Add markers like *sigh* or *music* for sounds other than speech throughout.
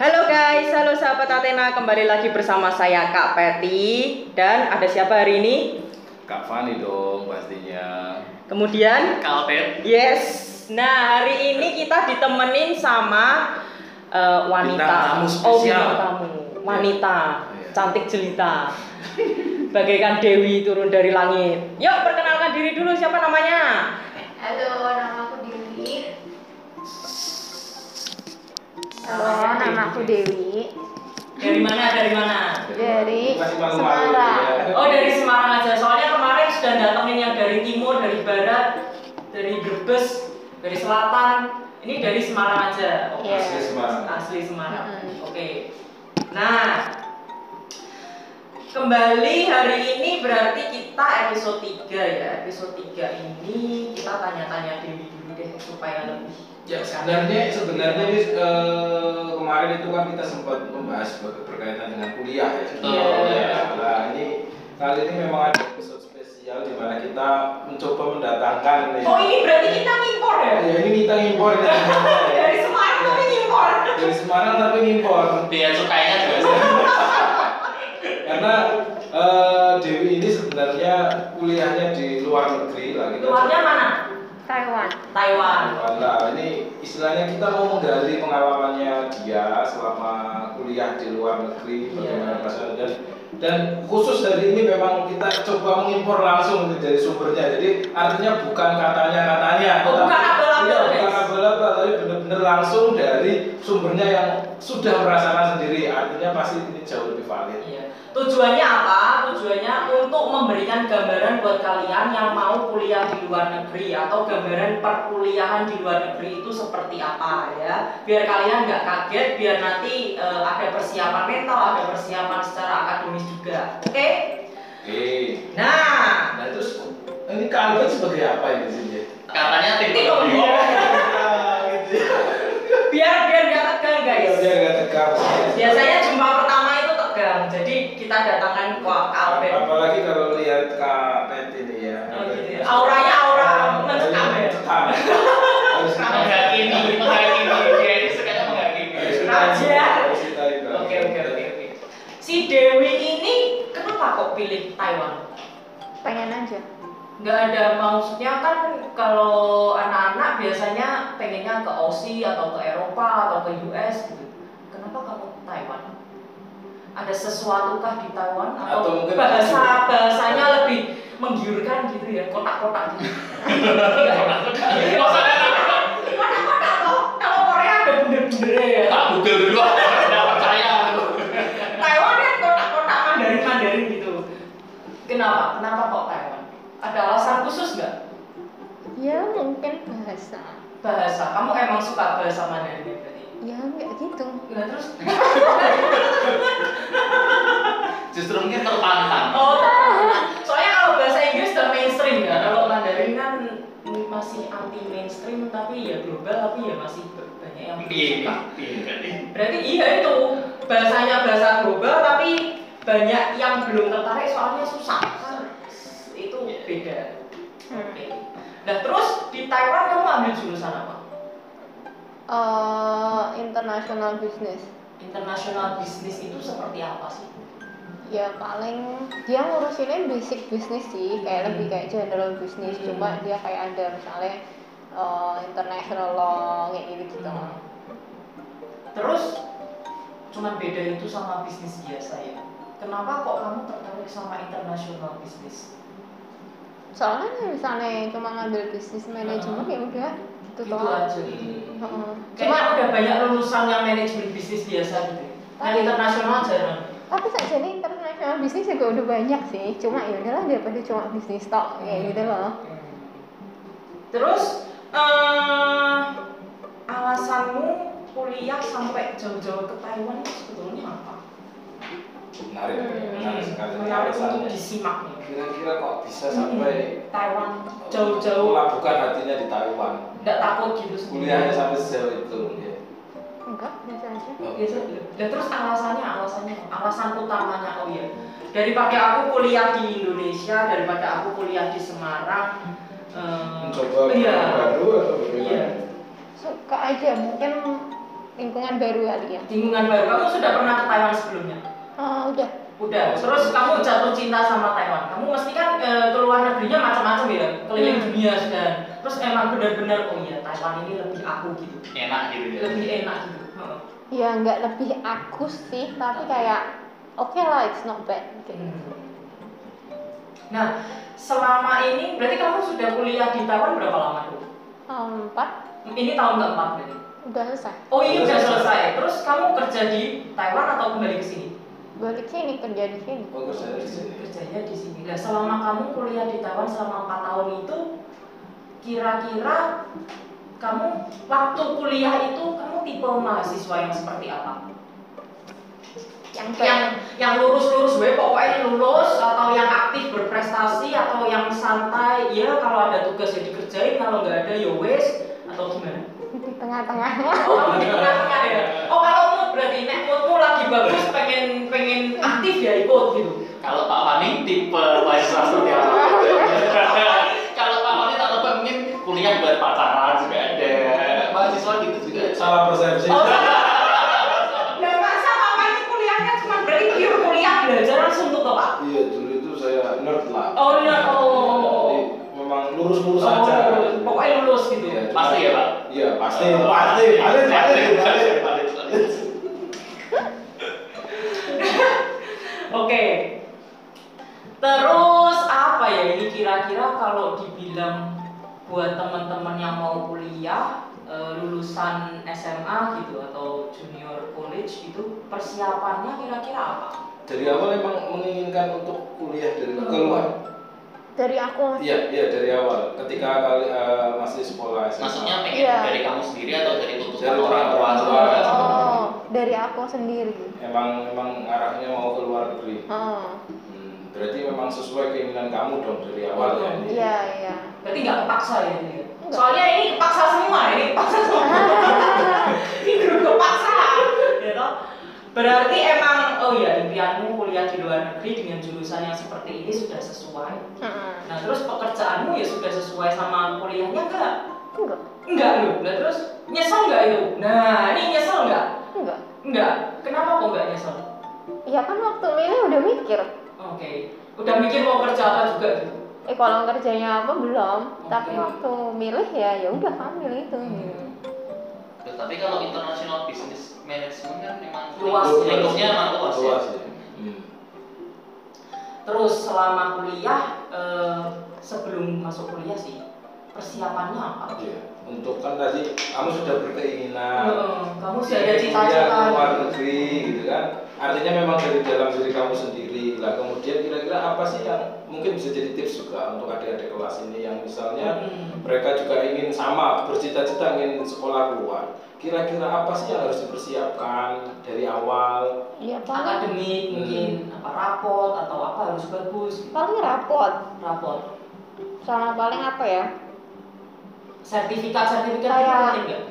Halo guys, halo sahabat Athena, kembali lagi bersama saya Kak Peti dan ada siapa hari ini? Kak Fani dong pastinya. Kemudian, Kalpet yes. Nah, hari ini kita ditemenin sama eh, wanita. Bintang tamu oh, spesial. bintang tamu. Wanita, Iya. cantik jelita. Bagaikan dewi turun dari langit. Yuk, perkenalkan diri dulu siapa namanya? Halo, nama aku Dewi. Halo, nama aku Dewi Dari mana? Dari mana? Dari Bukan cuma Semarang. Malu, ya. Oh dari Semarang aja, soalnya kemarin sudah datangin yang dari timur, dari barat, dari Brebes, dari selatan. Ini dari Semarang aja. Oke. Iya. Asli Semarang. Asli Semarang. Mm-mm. Oke. Nah, kembali hari ini berarti kita episode 3 ya. Episode 3 ini kita tanya-tanya Dewi dulu deh supaya lebih Ya sebenarnya sebenarnya ini, eh, kemarin itu kan kita sempat membahas ber- berkaitan dengan kuliah ya. Betul. Iya. Nah ini kali ini memang ada episode spesial di mana kita mencoba mendatangkan nih. Oh ini berarti kita ngimpor ya? Ya ini kita impor *laughs* ya. Dari Semarang tapi ngimpor. dari Semarang tapi impor. biar sukanya juga Karena eh, Dewi ini sebenarnya kuliahnya di luar negeri lah kita. Luarnya mana? Taiwan. Taiwan. Nah, ini istilahnya kita mau menggali pengalamannya dia selama kuliah di luar negeri bagaimana Iya. rasanya dan dan khusus dari ini memang kita coba mengimpor langsung nih dari sumbernya. Jadi artinya bukan katanya katanya. Iya, Oh, bukan abal-abal, bukan guys. abal-abal, tapi benar-benar langsung dari sumbernya yang sudah merasakan sendiri. Artinya pasti ini jauh lebih valid. Iya. Tujuannya apa? Tujuannya untuk memberikan gambaran buat kalian yang mau kuliah di luar negeri atau gambaran perkuliahan di luar negeri itu seperti apa ya. Biar kalian nggak kaget, biar nanti eh, ada persiapan mental, ada persiapan secara akademis juga. Oke? Oke. Nah, Nah terus ini kalian sebagai apa *laughs* ini Oh, iya, di sini? katanya tim Tim Tokyo. gitu ya. biar biar nggak tegang guys. Biar nggak Iya, tegang. Biasanya jumpa pertama itu tegang, jadi kita datangkan ke Albert. Apalagi kalau lihat Kak Pet ini ya. Oh, gitu ya. Auranya aura mencekam ya. Mencekam. Harus kita- menghakimi menghakimi dia itu sukanya menghakimi harus kita- Ajar. harus kita itu. Nah, Oke oke oke oke. Si Dewi ini kenapa kok pilih Taiwan? Pengen aja. Nggak ada maksudnya kan kalau anak-anak biasanya pengennya ke Aussie atau ke Eropa atau ke US gitu. Kenapa kamu ke Taiwan? Ada sesuatu kah di Taiwan atau, Atau mungkin bahasa langsung- bahasanya lebih menggiurkan gitu ya kotak-kotak gitu. Kotak-kotak kok. Kalau Korea ada bener-bener ya. tak google dulu ah, nggak percaya aku. Taiwan kan kotak-kotak Mandarin-Mandarin gitu. Kenapa? Kenapa kok Taiwan? Ada alasan khusus nggak? Ya mungkin bahasa. Bahasa. Kamu emang suka bahasa Mandarin ya berarti? Ya nggak gitu. Nah, terus *laughs* justru mungkin tertantang oh soalnya kalau bahasa Inggris udah mainstream ya kalau Mandarin kan masih anti mainstream tapi ya global tapi ya masih banyak yang Iya, suka. iya, iya. Berarti iya itu bahasanya bahasa global tapi banyak yang belum tertarik soalnya susah. Itu Iya. beda. Hmm. Oke. Nah terus di Taiwan kamu ambil jurusan apa? Eh, international business. International bisnis itu seperti apa sih? Ya paling dia ngurusinnya basic business sih, kayak Hmm. lebih kayak general business. Hmm. Cuma dia kayak ada misalnya eh, international law kayak gitu gitu. Terus cuman beda itu sama bisnis biasa ya. Kenapa kok kamu tertarik sama international bisnis? Soalnya misalnya cuma ngambil business management ya udah gitu Gitu doang. aja. Hmm. Heeh. Cuma Cuma udah banyak lulusan yang manajemen bisnis biasa gitu. Nah, Tapi- internasional jarang. tapi saja ini internasional bisnis juga udah banyak sih cuma ya udahlah daripada cuma bisnis tok kayak gitu loh Terus eh, alasanmu kuliah sampai jauh-jauh ke Taiwan itu sebetulnya apa? Menarik, menarik sekali. Hmm. Menarik untuk Alasannya. disimak nih. Hmm, Kira-kira kok bisa sampai Taiwan jauh-jauh melabuhkan hatinya di Taiwan. nggak takut gitu Kuliahnya sendiri. sampai sejauh itu. ya. enggak biasa aja Biasa. Dan terus alasannya, alasannya, alasan utamanya oh iya. Daripada aku kuliah di Indonesia, daripada aku kuliah di Semarang, eh, Mencoba iya, baru atau bagaimana? Iya. suka aja mungkin lingkungan baru kali ya Lingkungan baru. Kamu sudah pernah ke Taiwan sebelumnya? oh, udah Udah. Terus kamu jatuh cinta sama Taiwan. Kamu mesti kan eh, ke luar negerinya macam-macam ya, keliling Hmm. dunia sudah. Terus emang benar-benar oh iya Taiwan ini lebih aku gitu, enak gitu Iya. ya lebih enak gitu. Heeh. ya nggak lebih aku sih tapi kayak oke lah it's not bad gitu. Nah, selama ini berarti kamu sudah kuliah di Taiwan berapa lama dulu? Um, empat Ini tahun keempat berarti. udah selesai Oh ini Udah udah selesai. selesai. Terus kamu kerja di Taiwan atau kembali ke sini? balik sini kerja di sini Oh, kerja di sini. Kerjanya di sini. Nah, selama kamu kuliah di Taiwan selama 4 tahun itu, kira-kira kamu waktu kuliah itu kamu tipe mahasiswa yang seperti apa? yang Yang kayak yang lurus-lurus gue pokoknya lulus atau yang aktif berprestasi atau yang santai ya kalau ada tugas ya dikerjain kalau nggak ada ya wes atau gimana? di tengah-tengah *laughs* Oh kamu di tengah-tengah ya? Oh kalau mood berarti nek moodmu lagi bagus pengen pengen aktif ya ikut gitu. kalau Pak Wani tipe mahasiswa *laughs* seperti apa kalau Pak Wani tak lupa mungkin kuliah buat pacaran juga ada mahasiswa gitu juga Salah persepsi. Oh, nah, masa Papa ini kuliahnya cuma berarti pure kuliah belajar langsung tuh kok Pak? Iya, dulu itu saya nerd lah. Oh no. Jadi memang lurus-lurus Oh, aja. pokoknya lulus gitu. Iya, cuma- Pasti ya, Pak? Iya, pasti. Pasti. Pasti. Pasti. Pasti. Oke. Terus apa ya ini kira-kira kalau dibilang buat teman-teman yang mau kuliah eh, lulusan SMA gitu atau junior college gitu persiapannya kira-kira apa? Dari awal emang menginginkan untuk kuliah dari keluar. dari aku Mas. Iya, iya dari awal. Ketika kali eh, masih sekolah SMA. maksudnya pengen Iya. dari kamu sendiri atau dari tuntutan Dari orang tua orang tua. juga? oh dari aku sendiri emang emang arahnya mau keluar negeri. oh Hmm, berarti memang sesuai keinginan kamu dong dari awal ya. ini. iya iya Berarti nggak kepaksa ya ini? ya? Nggak. Soalnya ini kepaksa semua, ini kepaksa semua. ini grup kepaksa. Ya toh? Berarti emang oh ya impianmu kuliah di luar negeri dengan jurusan yang seperti ini sudah sesuai. Heeh. Nah terus pekerjaanmu ya sudah sesuai sama kuliahnya nggak? enggak Enggak loh. Nah terus nyesel nggak itu? Nah ini nyesel nggak? enggak Enggak. Kenapa kok nggak nyesel? ya kan waktu milih udah mikir Oke. Udah mikir mau kerja apa juga gitu? eh kalau kerjanya apa belum tapi Oke. Hmm. waktu milih ya ya udah kan milih itu gitu. Tuh, tapi kalau international business management kan memang Luas. lingkupnya emang luas ya. Luas ya. Hmm. Terus selama kuliah eh, sebelum masuk kuliah sih persiapannya apa? Iya. Untuk kan tadi kamu sudah berkeinginan. Eh, kamu sudah ada Jadi kuliah cita-cita. keluar Iya, negeri gitu kan. Artinya memang dari dalam diri kamu sendiri. Lah kemudian kira-kira apa sih yang mungkin bisa jadi tips juga untuk adik-adik kelas ini yang misalnya Hmm. mereka juga ingin sama bercita-cita ingin sekolah keluar kira-kira apa sih yang harus dipersiapkan dari awal ya paling Akademik Hmm. mungkin apa rapot atau apa harus bagus paling rapot rapot. sama paling apa ya Sertifikat sertifikat itu Kayak- penting nggak?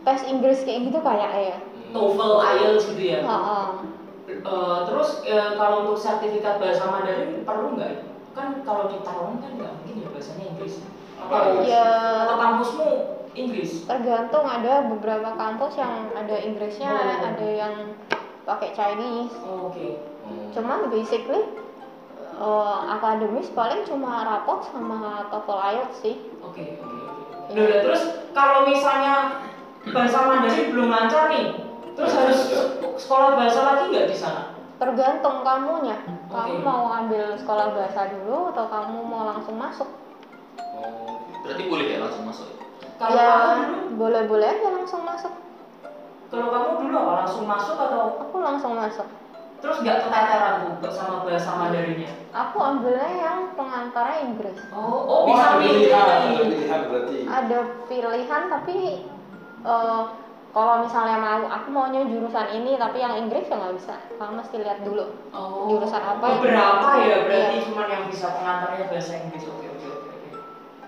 tes Inggris kayak gitu kayak ya Hmm. TOEFL, IELTS gitu ya. Heeh. Eh, terus eh, kalau untuk sertifikat bahasa Mandarin perlu nggak? itu? Kan kalau di Taiwan kan nggak mungkin ya bahasanya Inggris. Atau, ya atau kampusmu Inggris. tergantung ada beberapa kampus yang ada Inggrisnya Oh. ada yang pakai Chinese Oh, Oke. Hmm. cuman basically eh, akademis paling cuma rapot sama TOEFL IELTS sih Oke, oke, oke. Loh, loh, terus kalau misalnya bahasa Mandarin belum lancar nih, terus harus se- sekolah bahasa lagi nggak di sana? tergantung kamunya Oke. kamu mau ambil sekolah bahasa dulu atau kamu mau langsung masuk Oh, Berarti boleh ya langsung masuk. ya? Kalau kamu ya dulu, boleh-boleh aja langsung masuk kalau kamu dulu apa langsung masuk atau aku langsung masuk terus nggak keteteran tuh sama bahasa Mandarinnya? aku ambilnya yang pengantarnya Inggris Oh, oh oh, bisa ada milih. Ah, pilihan ada pilihan berarti ada pilihan tapi eh, kalau misalnya mau aku maunya jurusan ini tapi yang Inggris ya nggak bisa kamu mesti lihat dulu Oh, Jurusan apa yang- Berapa ya berarti Iya. cuman yang bisa pengantarnya bahasa Inggris. Oke, oke, oke. oke.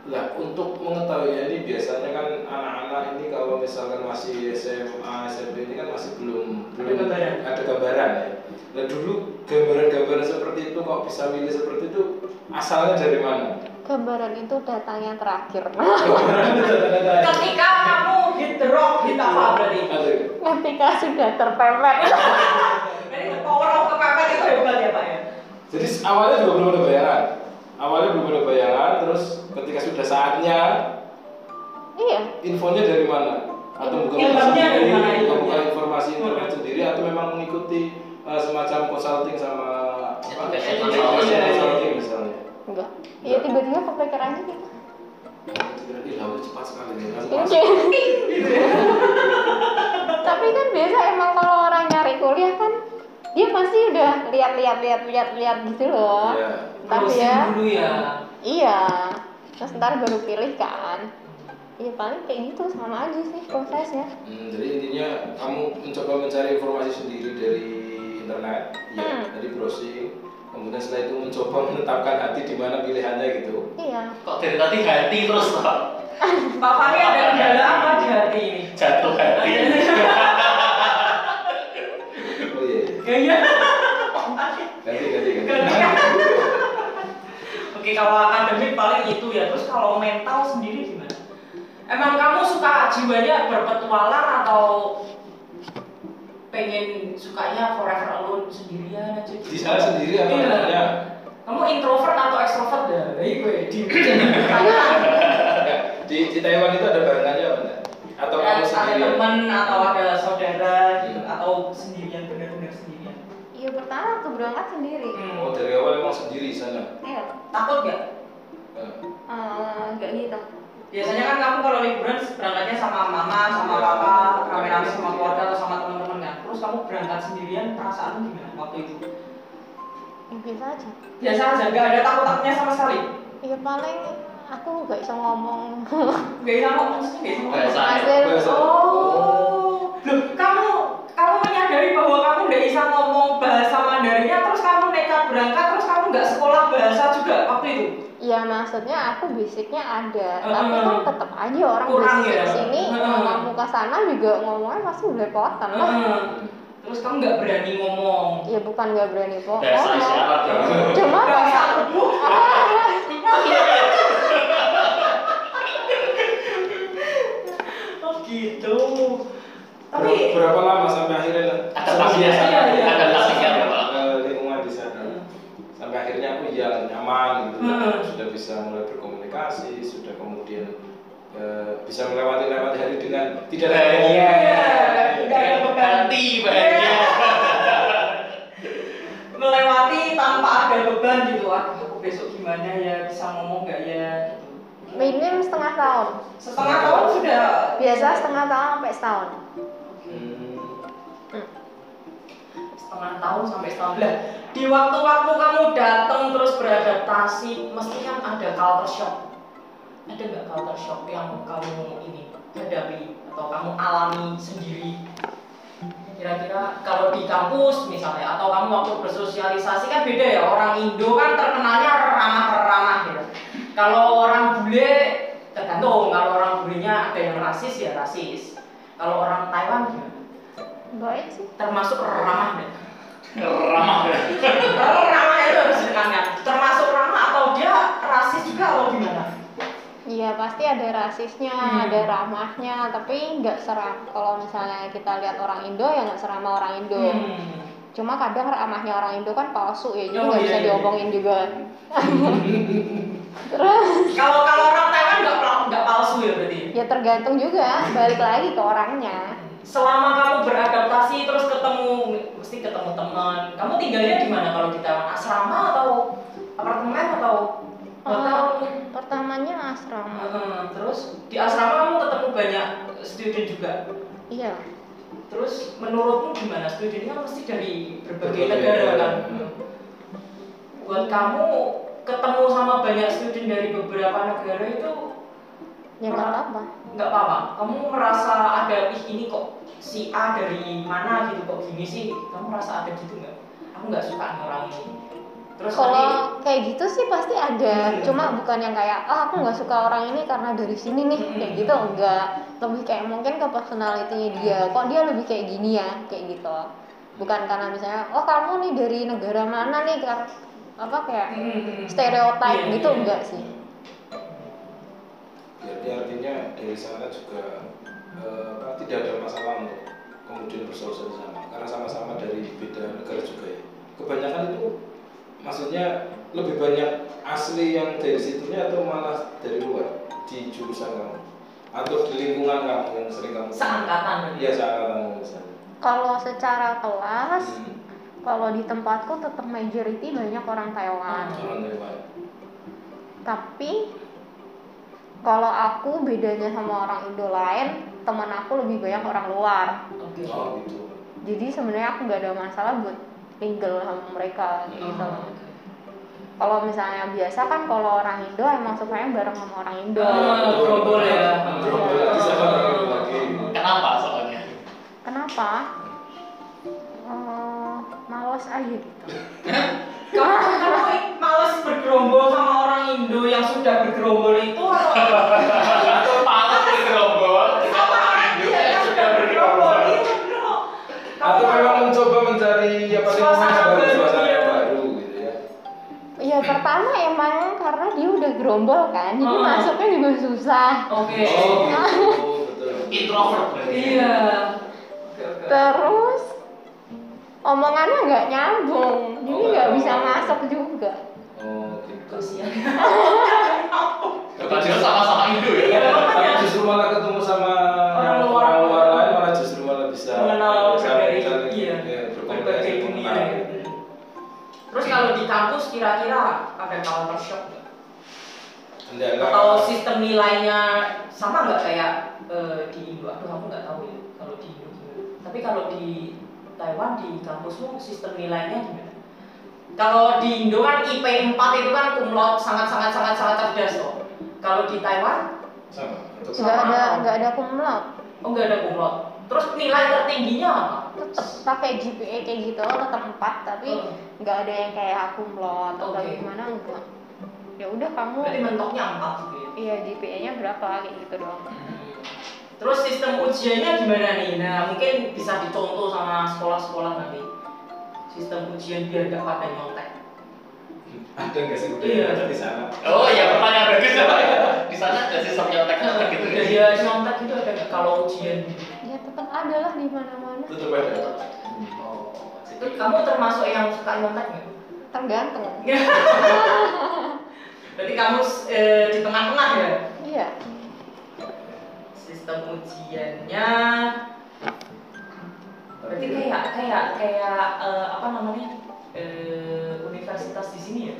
ya untuk mengetahui ini biasanya kan anak-anak ini kalau misalkan masih SMA SMP ini kan masih belum Ada gambaran. ada gambaran ya nah dulu gambaran-gambaran seperti itu kok bisa milih seperti itu asalnya dari mana gambaran itu datangnya terakhir *laughs* Gambaran itu dari mana? Ketika kamu hit the rock, hit apa berarti? Aduh, ketika sudah terpepet *laughs* Jadi the power of kepepet itu hebat ya Pak ya. Jadi awalnya juga belum ada bayangan. Awalnya belum ada bayangan, terus ketika sudah saatnya, iya infonya dari mana? Atau bukan Ilmunya dari mana atau ilmunya? bukan informasi internet sendiri, atau memang mengikuti eh, semacam consulting sama apa? Education Iya, consulting. consulting misalnya. enggak ya tiba-tiba kepikiran aja gitu Jadi lalu cepat sekali nih, langsung Ini masuk. kayak- tapi kan biasa emang kalau orang nyari kuliah kan dia pasti udah lihat-lihat lihat-lihat lihat gitu loh Iya. Tapi Browsing ya. dulu ya. iya terus ntar baru pilih kan ya paling kayak gitu sama aja sih prosesnya Hmm, jadi intinya kamu mencoba mencari informasi sendiri dari internet, ya, Hmm. dari browsing, kemudian setelah itu mencoba menetapkan hati di mana pilihannya gitu. iya Kok dari tadi hati terus Pak? Pak Fahri ada kendala apa di hati ini? Jatuh hati. Oh iya, iya. Kayaknya. ganti ganti ganti. Oke kalau akademik paling itu ya. Terus kalau mental sendiri gimana? Emang kamu suka jiwanya berpetualang atau pengen sukanya forever alone sendirian aja? gitu? Di sana sendiri atau Iya. namanya? Kamu introvert atau extrovert ya? Ini gue di jadi *laughs* pertanyaan. Di, di Taiwan itu ada barengannya apa enggak? Atau Ya, kamu ada sendiri? teman atau ada saudara gitu Hmm. atau sendirian benar-benar sendirian. iya pertama waktu berangkat sendiri Oh Hmm. dari awal emang sendiri di sana. iya Takut nggak? Eh, eh, nggak gitu Biasanya kan kamu kalau liburan berangkatnya sama mama, sama Iya. papa, rame-rame sama keluarga atau sama teman-teman kan. Terus kamu berangkat sendirian, perasaanmu gimana waktu itu? ya, biasa aja Biasa aja, nggak ada takut-takutnya sama sekali. ya paling aku nggak bisa ngomong Nggak hilang kok, maksudnya nggak hilang. Biasa. hasil biasa. Oh, loh kamu kamu menyadari bahwa kamu nggak bisa ngomong bahasa Mandarinnya, terus kamu nekat berangkat, terus kamu nggak sekolah bahasa juga waktu itu. Ya maksudnya aku basicnya ada, Heeh. tapi kan tetap aja orang Kurang basic ya? sini Heeh. kalau kamu ke sana juga ngomongnya pasti belepotan lah. Heeh. Hmm. Terus kamu nggak berani ngomong. Ya bukan nggak berani po- Bahasa ngomong, isyarat dong. cuma Bahasa kayak tubuh. Oh gitu. Tapi ber- berapa lama sampai akhirnya Ada tasnya, Iya, iya. ada tasnya Pak. eh, lingkungan di sana? sampai akhirnya aku ya nyaman gitu Hmm. sudah bisa mulai berkomunikasi sudah kemudian eh, bisa melewati lewat hari dengan tidak Eh, iya, ada Bahagia. Nggak ada beban. Iya. Iya. Hati Iya. bahagia. melewati tanpa ada beban gitu. Aku besok gimana ya bisa ngomong nggak ya? gitu. *laughs* minim setengah tahun. Setengah tahun sudah Biasa setengah tahun sampai setahun. Hmm. setengah tahun sampai setahun lah di waktu-waktu kamu datang terus beradaptasi mesti kan ada culture shock ada nggak culture shock yang kamu ini hadapi atau kamu alami sendiri kira-kira kalau di kampus misalnya atau kamu waktu bersosialisasi kan beda ya orang Indo kan terkenalnya ramah-ramah gitu kalau orang bule tergantung kalau orang bulenya ada yang rasis ya rasis kalau orang Taiwan gimana? Baik sih. termasuk gitu. ramah nggak? Ramah. ramah itu harus ditanyakan. termasuk ramah atau dia rasis juga atau gimana Iya pasti ada rasisnya, Hmm. ada ramahnya, tapi nggak seram. Kalau misalnya kita lihat orang Indo ya nggak serama orang Indo. Hmm. Cuma kadang ramahnya orang Indo kan palsu ya, jadi Oh, nggak iya, bisa iya. diomongin juga. Terus kalau kalau orang Taiwan nggak pal- nggak palsu ya berarti Ya tergantung juga, balik lagi ke orangnya. selama kamu beradaptasi terus ketemu mesti ketemu teman kamu tinggalnya di mana kalau di Taiwan asrama atau apartemen atau hotel Eh, pertamanya asrama. Eh, terus di asrama kamu ketemu banyak student juga Iya. terus menurutmu gimana studentnya kan mesti dari berbagai Berbagai ya. negara negara. kan buat kamu ketemu sama banyak student dari beberapa negara itu Ya nggak apa-apa. nggak apa-apa kamu merasa ada ih ini kok si A dari mana gitu kok gini sih kamu merasa ada gitu nggak aku nggak suka nih orang ini terus nanti Kalau kayak gitu sih pasti ada, Iya. cuma bukan yang kayak ah aku nggak suka orang ini karena dari sini nih, Mm-mm. kayak gitu enggak. Lebih kayak mungkin ke personalitinya dia, kok dia lebih kayak gini ya, kayak gitu. Bukan karena misalnya oh kamu nih dari negara mana nih, kar- apa kayak Mm, mm, mm. stereotype Iya, gitu iya. enggak sih. Jadi artinya dari sana juga eh, apa, tidak ada masalah untuk kemudian bersosialisasi sama karena sama-sama dari beda negara juga ya kebanyakan itu maksudnya lebih banyak asli yang dari situnya atau malah dari luar di jurusan kamu atau di lingkungan kamu yang sering kamu seangkatan iya seangkatan kamu misalnya Kalau secara kelas, Hmm, kalau di tempatku tetap majority banyak orang Taiwan. orang dari luar. Tapi kalau aku bedanya sama orang Indo lain, teman aku lebih banyak orang luar. Iya. Oke. oh gitu Jadi sebenarnya aku nggak ada masalah buat mingle sama mereka gitu. Hmm. Kalau misalnya biasa kan kalau orang Indo emang sukanya bareng sama orang Indo. Ah, gerobol ya. Gerobol lagi sama orang lagi. Kenapa soalnya? Kenapa? Eh, males aja gitu. Kamu kamu males bergerombol sama orang Indo yang sudah bergerombol itu atau Atau malas bergerombol? sama orang India yang Iya, kan sudah bergerombol itu? Bro? Kamu atau memang mencoba mencari apa lingkungan Suasana yang baru baru, suasana iya. yang baru gitu ya Ya pertama emang karena dia udah gerombol kan, jadi Hmm. masuknya juga susah. Oke. oh gitu betul Introvert berarti. Iya. Oke, oke. Terus omongannya nggak nyambung, jadi Oh, nggak oh. bisa masuk juga. oh gitu Kasihan. Padahal sama-sama Indo Iya, ya. Tapi makanya. justru malah ketemu sama Orang luar. lain malah justru malah bisa Mengenal bisa dari- saling, iya, ya, berkomunikasi berbagai dunia mengenal. gitu. Terus kalau di kampus kira-kira ada counter shock nggak? Kendala. atau sistem nilainya sama nggak kayak eh, di Indo? Aduh aku nggak tahu ya kalau di Indo gimana. Tapi kalau di Taiwan di kampusmu sistem nilainya gimana? Kalau di Indo kan IP 4 itu kan cum laude sangat sangat sangat sangat cerdas loh. Kalau di Taiwan sama untuk Sama Nggak ada apa? nggak ada kumlot, oh nggak ada cum laude. Terus nilai tertingginya apa? tetap pakai GPA kayak gitu tetap empat, tapi Oh, nggak ada yang kayak aku kumlot atau Oke. gimana enggak. Ya udah kamu, berarti mentoknya 4 gitu ya. iya GPA-nya berapa kayak gitu doang. Terus sistem ujiannya gimana nih? Nah mungkin bisa dicontoh sama sekolah-sekolah nanti sistem ujian biar nggak pada nyontek. ada nggak sih udah Iya. ada di sana Oh iya, pertanyaan bagus. Di sana ada sistem nyontek-nyontek gitu ya. Iya, nyontek itu ada nggak kalau ujian gitu? Ya tetap ada lah di mana-mana. tutup ada ya. Oh, Itu kamu termasuk yang suka nyontek nggak? Tergantung. *laughs* Berarti kamu eh, di tengah-tengah ya? Iya. Sistem ujiannya berarti kayak kayak kayak eh, apa namanya eh, universitas di sini ya?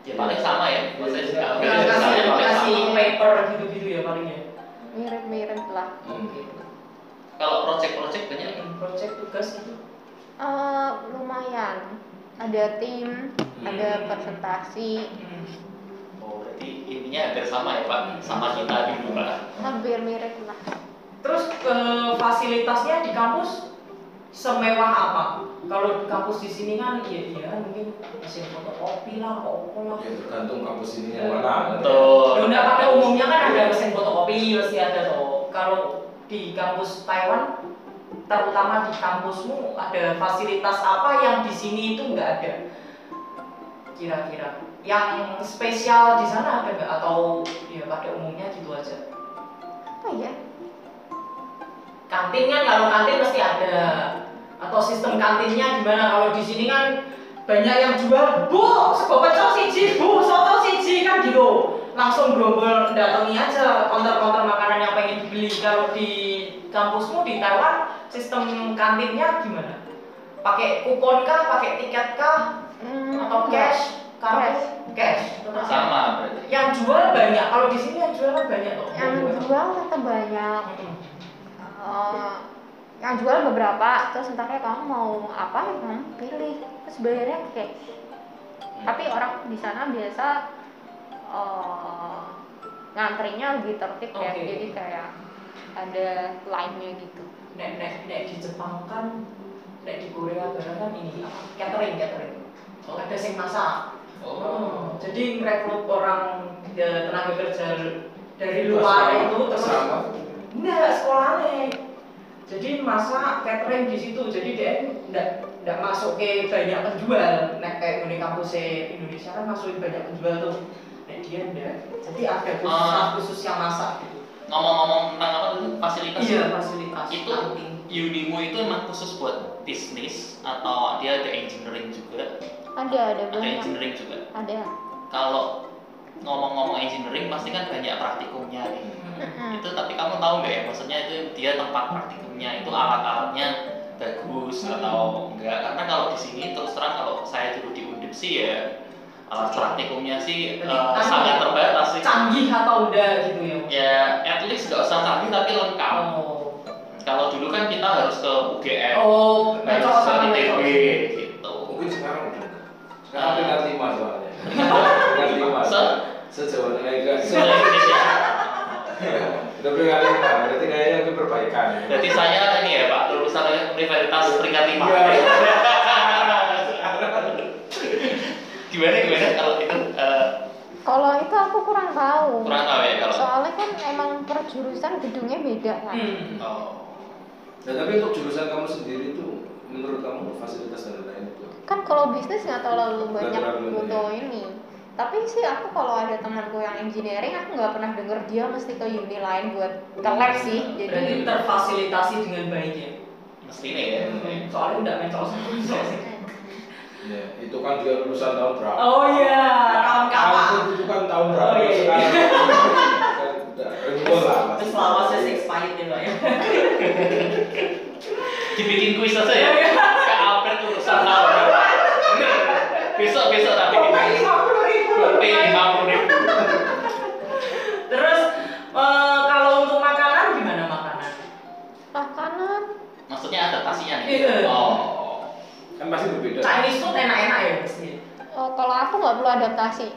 Ya paling sama ya, maksudnya sih kalau Iya, Kasih misalnya paling kasih sama. paper gitu-gitu ya paling ya. Mirip-mirip lah. Hmm. Oke. Kalau project-project banyak kan? Project tugas gitu. Eh, lumayan. Ada tim, Hmm. ada presentasi, Oh, berarti intinya hampir sama ya Pak, sama kita dulu Pak. hampir mirip lah. Terus eh, fasilitasnya di kampus semewah apa? Kalau di kampus di sini kan ya iya mungkin mesin fotokopi lah, opo lah. ya tergantung kampus ini yang mana kan, ya. Loh, Betul. enggak, pada umumnya kan ada mesin fotokopi pasti ada toh. Kalau di kampus Taiwan terutama di kampusmu ada fasilitas apa yang di sini itu nggak ada kira-kira yang spesial di sana ada nggak atau ya pada umumnya gitu aja Apa ya? kantin kan kalau kantin pasti ada atau sistem kantinnya gimana kalau di sini kan banyak yang jual bu sego pecel siji bu soto siji kan gitu langsung gerombol datangi aja konter-konter makanan yang pengen dibeli kalau di kampusmu di Taiwan sistem kantinnya gimana pakai kupon kah pakai tiket kah Hmm, atau enggak. cash kartu cash tetap sama. Sama berarti. yang jual banyak kalau di sini yang jual kan banyak Hmm. loh Yang jual tetap banyak. Eh, yang jual beberapa, terus entarnya kamu mau apa, kamu pilih. Terus bayarnya kayak. Tapi orang di sana biasa eh, ngantrinya lebih tertib ya, Oke. jadi kayak ada line-nya gitu. nek nek nek di Jepang kan nek di Korea barang kan ini apa catering catering Oh. ada yang masak Hmm, Oh. jadi merekrut orang ya, tenaga kerja dari Kelas luar sama, itu terus sama enggak sekolahnya jadi masak catering di situ jadi dia enggak enggak masuk ke banyak penjual nek kayak gini kampus Indonesia kan masukin banyak penjual tuh nek dia enggak jadi ada khusus Ah. khusus yang masak gitu Ngomong-ngomong tentang apa tadi? Fasilitas. iya fasilitas mas Itu- marketing. Unimu itu emang khusus buat bisnis atau dia ada engineering juga? ada ada Ah. Ada banyak engineering juga. ada Kalau ngomong-ngomong engineering pasti kan banyak praktikumnya nih. Mm-mm. Itu tapi kamu tahu nggak ya maksudnya itu dia tempat praktikumnya itu alat-alatnya bagus atau enggak? Karena kalau di sini terus terang kalau saya dulu di Undip sih ya alat praktikumnya sih Berarti eh, kamu- sangat terbatas sih. canggih atau enggak gitu ya Mas? Ya at least nggak usah canggih tapi lengkap. oh Kalau dulu kan kita harus ke UGM, oh harus mecok ke sama ITB mecok gitu. mungkin sekarang udah sekarang peringkat lima *laughs* soalnya peringkat lima Se sejauh mereka se Indonesia. Iya, udah peringkat lima berarti kayaknya ada perbaikan ya Berarti saya ini ya Pak, lulusan universitas peringkat lima. Iya. gimana gimana kalau itu eh, kalau itu aku kurang tahu kurang tahu ya kalau. soalnya kan emang per jurusan gedungnya beda kan Hmm. Oh. Nah, tapi untuk jurusan kamu sendiri itu menurut kamu fasilitas dan lain-lain itu apa? kan kalau bisnis nggak terlalu banyak terlalu banyak. butuh ini tapi sih aku kalau ada temanku yang engineering aku nggak pernah denger dia mesti ke uni lain buat ke lab sih berarti jadi Iya. eh. terfasilitasi dengan baik ya Hmm. Mestinya ya. soalnya enggak mecok sama *laughs* mecok Ya, itu kan juga lulusan tahun berapa? oh iya tahun kapan Tahun itu kan tahun berapa Oh, iya, iya. *laughs* sekarang? Kan udah ribut lah. pasti. terus lawasnya sih expired ya Pak, ya Dibikin kuis aja ya. Ke Alfred lulusan tahun berapa? Besok besok tapi bikin kuis. Kopi lima ribu. ya? terus eh, kalau untuk makanan gimana makanan makanan Maksudnya adaptasinya Iya. nih. Oh. Kan pasti Iya. berbeda. Chinese food enak-enak ya pasti eh, kalau aku nggak perlu adaptasi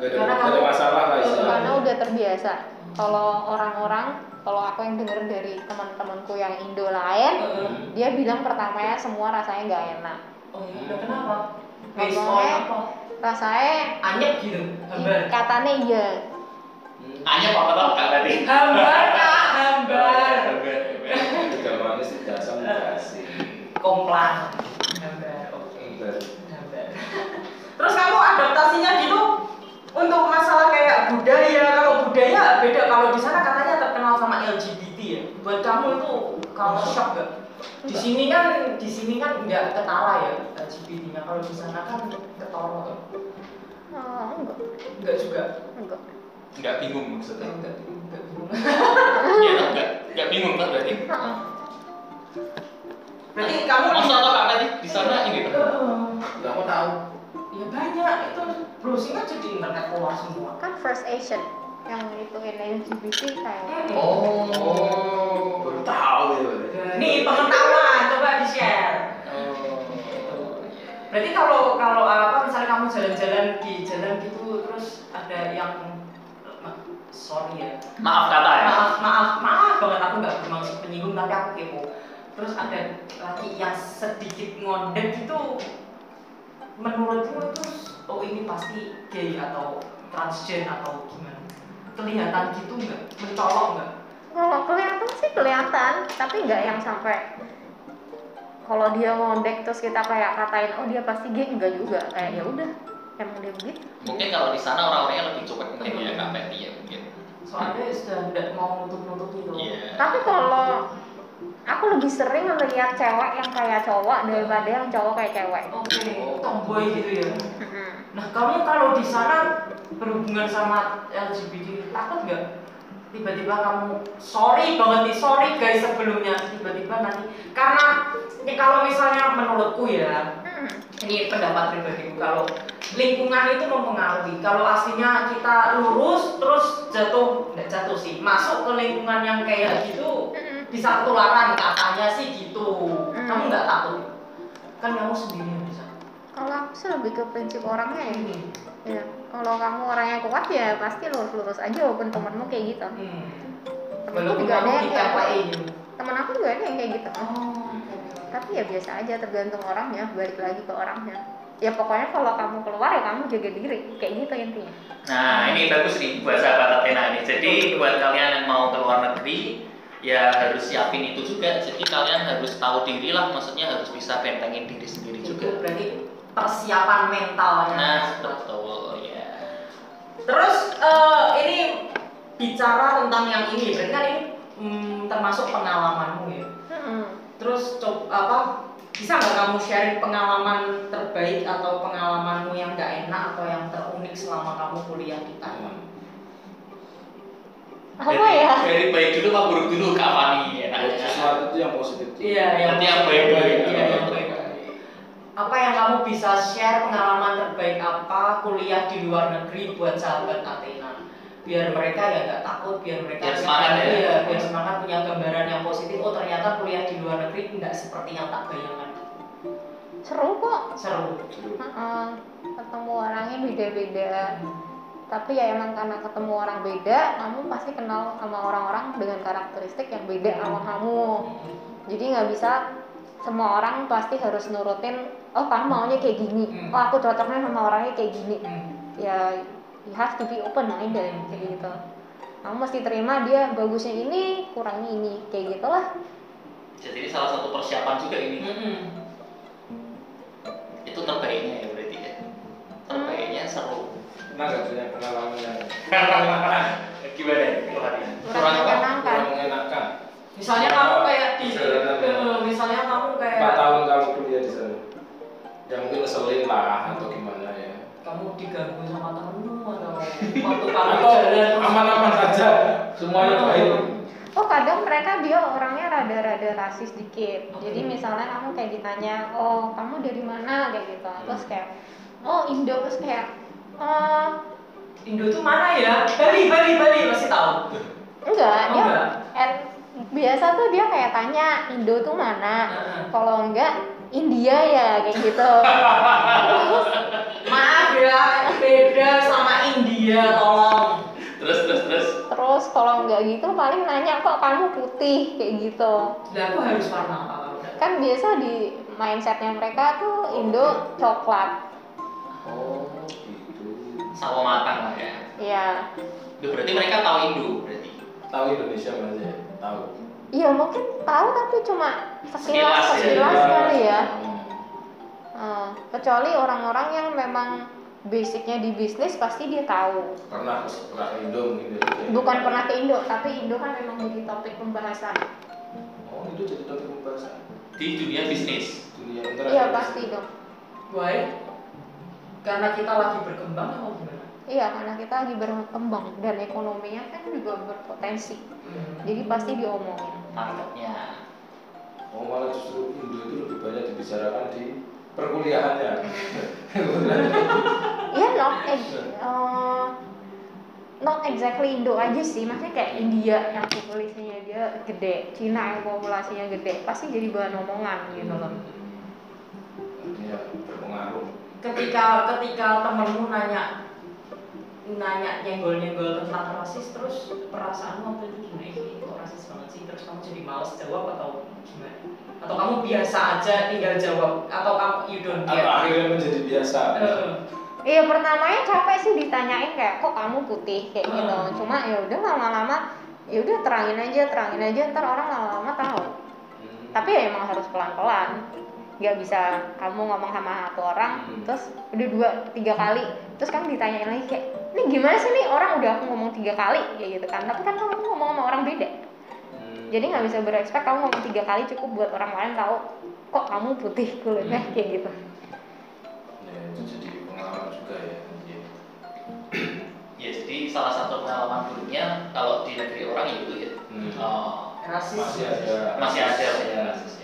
Gak ada, Karena gak ada kamu- masalah lah Hmm. karena istilahnya. udah terbiasa kalau orang-orang kalau aku yang denger dari teman-temanku yang Indo Hmm. lain Heeh. dia bilang pertamanya semua rasanya nggak enak Eh, oh iya udah kenapa Based on Ngomongnya- apa rasanya anyep gitu hambar katanya iya Hmm. Hanya apa tahu kak berarti. hambar kak hambar Tidak manis, tidak asam, tidak asin. komplan hambar oke Enggak. hambar oh, *laughs* terus kamu adaptasinya gitu untuk masalah kayak budaya kalau budaya beda kalau di sana katanya terkenal sama LGBT ya buat kamu itu kamu shock gak di sini kan di sini kan nggak ketara ya LGBT-nya kalau di sana kan ketara tuh Eh, enggak nggak juga enggak Enggak bingung maksudnya. nggak nggak Iya kan? Enggak enggak bingung kan berarti. Heeh. berarti kamu Masa tau kak berarti di sana ini tuh. Enggak aku tahu. ya banyak itu browsing aja di internet keluar semua kan first Asian yang itu LGBT kayak Oh. Baru tahu ya. berarti. nih pengetahuan coba di share Oh. berarti kalau kalau eh, apa misalnya kamu jalan-jalan di jalan gitu terus ada yang ma- sorry ya Maaf kata ya. maaf maaf maaf banget aku nggak bermaksud menyinggung tapi aku kepo terus ada laki yang sedikit ngondek gitu menurutmu itu oh ini pasti gay atau transgen atau gimana kelihatan gitu nggak mencolok nggak kalau kelihatan sih kelihatan tapi nggak yang sampai kalau dia ngondek terus kita kayak katain oh dia pasti gay enggak juga kayak ya udah emang dia begitu Mungkin kalau di sana orang-orangnya lebih cuek mungkin ya kak Betty ya mungkin. soalnya sudah nggak mau nutup-nutup gitu Iya. tapi kalau aku lebih sering ngeliat cewek yang kayak cowok daripada yang cowok kayak cewek Mm-hmm. oke tomboy gitu ya Heeh. nah kamu kalau di sana berhubungan sama LGBT takut nggak tiba-tiba kamu sorry banget nih sorry guys sebelumnya tiba-tiba nanti karena ini kalau misalnya menurutku ya Heeh. ini pendapat pribadiku kalau lingkungan itu mempengaruhi kalau aslinya kita lurus terus jatuh nggak jatuh sih masuk ke lingkungan yang kayak gitu Heeh. bisa ketularan katanya sih gitu Hmm. kamu nggak takut kan kamu sendiri yang bisa kalau aku sih lebih ke prinsip orangnya ya, ya. kalau kamu orangnya kuat ya pasti lurus-lurus aja walaupun temenmu kayak gitu hmm. temenku walaupun juga ada kamu yang di kayak KPI gitu temen aku juga ada yang kayak gitu oh tapi ya biasa aja tergantung orangnya balik lagi ke orangnya ya pokoknya kalau kamu keluar ya kamu jaga diri kayak gitu intinya Nah ini bagus nih buat sahabat Athena nih. Jadi buat kalian yang mau ke luar negeri ya harus siapin itu juga. Jadi kalian harus tahu diri lah. Maksudnya harus bisa bentengin diri sendiri itu juga. berarti persiapan mentalnya Nah betul ya. Terus eh, ini bicara tentang yang ini, berarti kan ini mm, termasuk hmm, pengalamanmu ya. terus coba apa bisa nggak kamu sharing pengalaman terbaik atau pengalamanmu yang nggak enak atau yang terunik selama kamu kuliah di Taiwan? apa ya Iya. Dari baik dulu apa buruk dulu Kak Fani ya. Nah, Nah, sesuatu itu yang positif. Iya, yang Nanti yang baik dulu Iya, ya. Iya, yang baik. Apa yang kamu bisa share pengalaman terbaik apa kuliah di luar negeri buat sahabat Athena? Biar mereka ya nggak takut, biar mereka Biar punya- semangat ya. Iya, biar semangat punya gambaran yang positif. Oh ternyata kuliah di luar negeri nggak seperti yang tak bayangkan. seru kok Seru. Seru. Heeh. ketemu orangnya beda-beda tapi ya emang karena ketemu orang beda kamu pasti kenal sama orang-orang dengan karakteristik yang beda sama kamu jadi nggak bisa semua orang pasti harus nurutin oh kamu maunya kayak gini Hmm. oh aku cocoknya sama orangnya kayak gini Hmm. ya you have to be open minded Hmm. kayak gitu kamu mesti terima dia bagusnya ini kurangnya ini kayak gitulah Jadi ini salah satu persiapan juga ini. Mm-mm. Itu terbaiknya ya berarti ya. Terbaiknya seru. Pernah nggak punya pengalaman yang Eh, Gimana? Kurangnya. kurang menyenangkan kurang mengenakan? Misalnya kamu kayak di, Perjalanan ya. eh, misalnya kamu Empat kayak tahun kamu kuliah di sana. Yang mungkin ngeselin lah atau gimana ya. kamu diganggu sama temenmu atau waktu kamu Atau jalan aman-aman saja, semuanya baik. Oh kadang mereka dia orangnya rada-rada rasis dikit. Oke. Jadi misalnya kamu kayak ditanya, oh kamu dari mana kayak gitu, Hmm. terus kayak, oh Indo terus kayak, "Eh, Indo tuh mana ya? Bali, Bali, Bali masih tahu. enggak Oh, dia enggak. eh, biasa tuh dia kayak tanya Indo tuh mana, Heeh. kalau enggak India ya kayak gitu. *laughs* terus Maaf ya, beda sama India, tolong. Terus terus terus. terus kalau enggak gitu paling nanya kok kamu putih kayak gitu. Lah aku harus warna apa kalau udah? Kan biasa di mindsetnya mereka tuh Indo coklat, Oh gitu. Sawo matang lah ya. ya. Duh, berarti mereka tahu Indo berarti. Tahu Indonesia mas ya? Tahu. Iya mungkin tahu tapi cuma iya. sekilas Sekilas ya. sekilas kali ya. Hmm. Eh, kecuali orang-orang yang memang basicnya di bisnis pasti dia tahu. Pernah ke pernah ke Indo mungkin ya. dari Bukan pernah ke Indo tapi Indo kan memang jadi topik pembahasan. Oh itu jadi topik pembahasan Di dunia bisnis. dunia internasional. Iya pasti dong. Why? Karena kita lagi berkembang apa gimana? Iya karena kita lagi berkembang dan ekonominya kan juga berpotensi. Hmm. Jadi pasti diomongin. Marketnya. Oh malah justru Indo itu lebih banyak dibicarakan di perkuliahannya. *laughs* Iya not ex- eh, not exactly Indo aja sih, maksudnya kayak India yang populasinya dia gede, Cina yang populasinya gede, pasti jadi bahan omongan gitu loh. Hmm. Iya berpengaruh. Ketika ketika temenmu nanya nanya nyenggol nyenggol tentang rasis terus perasaanmu waktu itu gimana Eh, ini kok rasis banget sih terus kamu jadi males jawab atau gimana atau kamu biasa aja tinggal jawab atau kamu you don't Atau care akhirnya menjadi biasa. Eh, Iya pertamanya capek sih ditanyain kayak kok kamu putih kayak gitu, Hmm. cuma ya udah lama-lama ya udah terangin aja terangin aja ntar orang lama-lama tahu. Hmm. Tapi ya emang harus pelan-pelan, nggak bisa kamu ngomong sama satu orang Hmm. terus udah dua tiga kali terus kamu ditanyain lagi kayak ini gimana sih nih orang udah aku ngomong tiga kali kayak gitu kan tapi kan kamu ngomong sama orang beda Hmm. jadi nggak bisa berekspek kamu ngomong tiga kali cukup buat orang lain tahu kok kamu putih kulitnya Hmm. kayak gitu Ya, itu jadi pengalaman juga ya. Iya. Ya jadi salah satu pengalaman buruknya kalau di negeri orang ya itu ya. Hmm. eh, rasis Masih ada. masih ada ya Ya. kasusnya.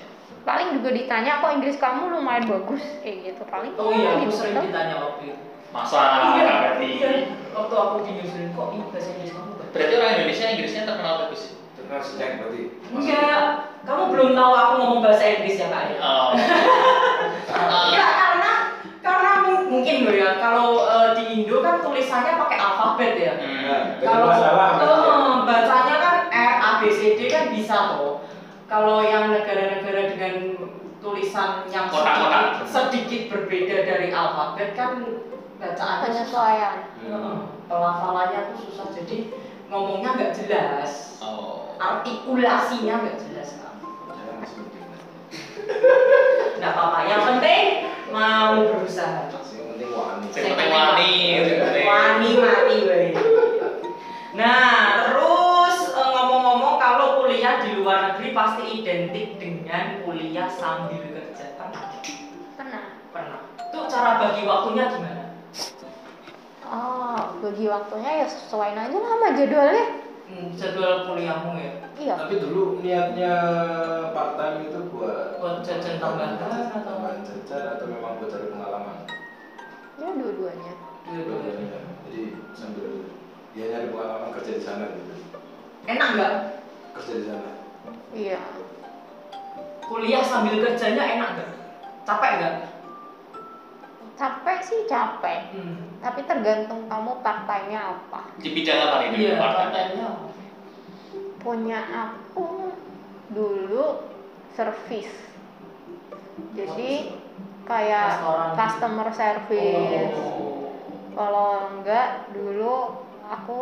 paling juga ditanya kok Inggris kamu lumayan bagus kayak gitu paling Oh iya, aku gitu sering dong. ditanya waktu itu. Masa Iya, berarti iya. Waktu aku di New Zealand, kok ini bahasa Inggris kamu bagus? berarti orang Indonesia Inggrisnya terkenal bagus. ya? Terkenal sedang berarti. Enggak, kamu belum tahu aku ngomong bahasa Inggris ya kak ya? Eh, eh, Enggak, karena karena mu- mungkin loh ya, kalau eh, di Indo kan tulisannya pakai alfabet ya. Nah, hmm, jadi masalah. eh, bacanya kan R A B C D kan bisa loh. Kalau yang negara-negara dengan tulisan yang Kotak-kotak. sedikit, sedikit berbeda dari alfabet kan bacaannya susah. penyesuaian Heeh, Hmm. pelafalannya tuh susah jadi ngomongnya nggak jelas Oh. artikulasinya nggak jelas Kak. Jangan masih penting. nggak apa-apa yang penting mau berusaha Yang penting wani. Sing penting wani, sing penting. wani mati weh. nah terus eh, ngomong-ngomong kalau kuliah kuliah di luar negeri pasti identik dengan kuliah sambil kerja pernah pernah pernah itu cara bagi waktunya gimana oh bagi waktunya ya sesuaiin aja lah sama jadwalnya hmm, jadwal kuliahmu ya iya Tapi dulu niatnya part time itu buat buat jajan tambahan atau tambahan jajan atau memang buat cari pengalaman. ya dua-duanya Iya, Dua-duanya. Jadi sambil dia nyari pengalaman kerja di sana gitu. enak nggak Kerja di sana. iya kuliah sambil kerjanya enak nggak capek nggak capek sih capek hmm. tapi tergantung kamu part time-nya apa di bidang apa nih di iya luar negeri? katanya punya aku dulu service jadi Ya, kayak restoran customer Oh. service kalau enggak dulu aku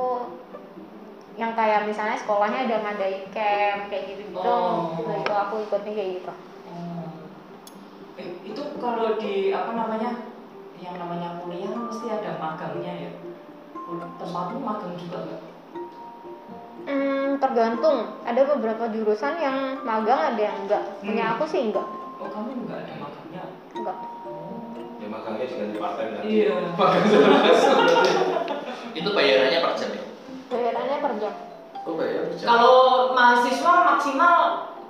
yang kayak misalnya sekolahnya ada ngadain camp kayak gitu gitu Oh. nah itu aku ikutnya kayak gitu Hmm. Eh, itu kalau di apa namanya yang namanya kuliah kan mesti ada magangnya ya Kul- tempatmu magang juga nggak hmm, tergantung ada beberapa jurusan yang magang ada yang enggak punya Hmm. aku sih enggak oh kamu nggak ada magangnya enggak Ya magangnya diganti part time nanti. iya *laughs* Magang sama masuk. itu bayarannya per jam ya? bayarannya per jam Kok bayar per jam? kalau mahasiswa maksimal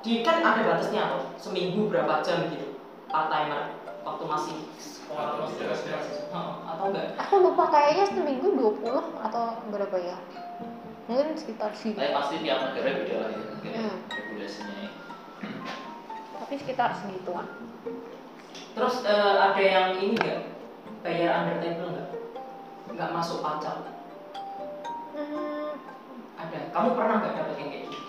di kan ada batasnya loh seminggu berapa jam gitu part timer waktu masih sekolah Atau masih tidak ada. mahasiswa. Heeh, atau enggak aku lupa kayaknya seminggu 20 atau berapa ya mungkin sekitar segitu Tapi pasti tiap negara beda lah ya mungkin Hmm. regulasinya ya. tapi sekitar segituan terus eh, ada yang ini nggak bayar under table nggak nggak masuk pajak Hmm, ada kamu pernah nggak dapet yang kayak gitu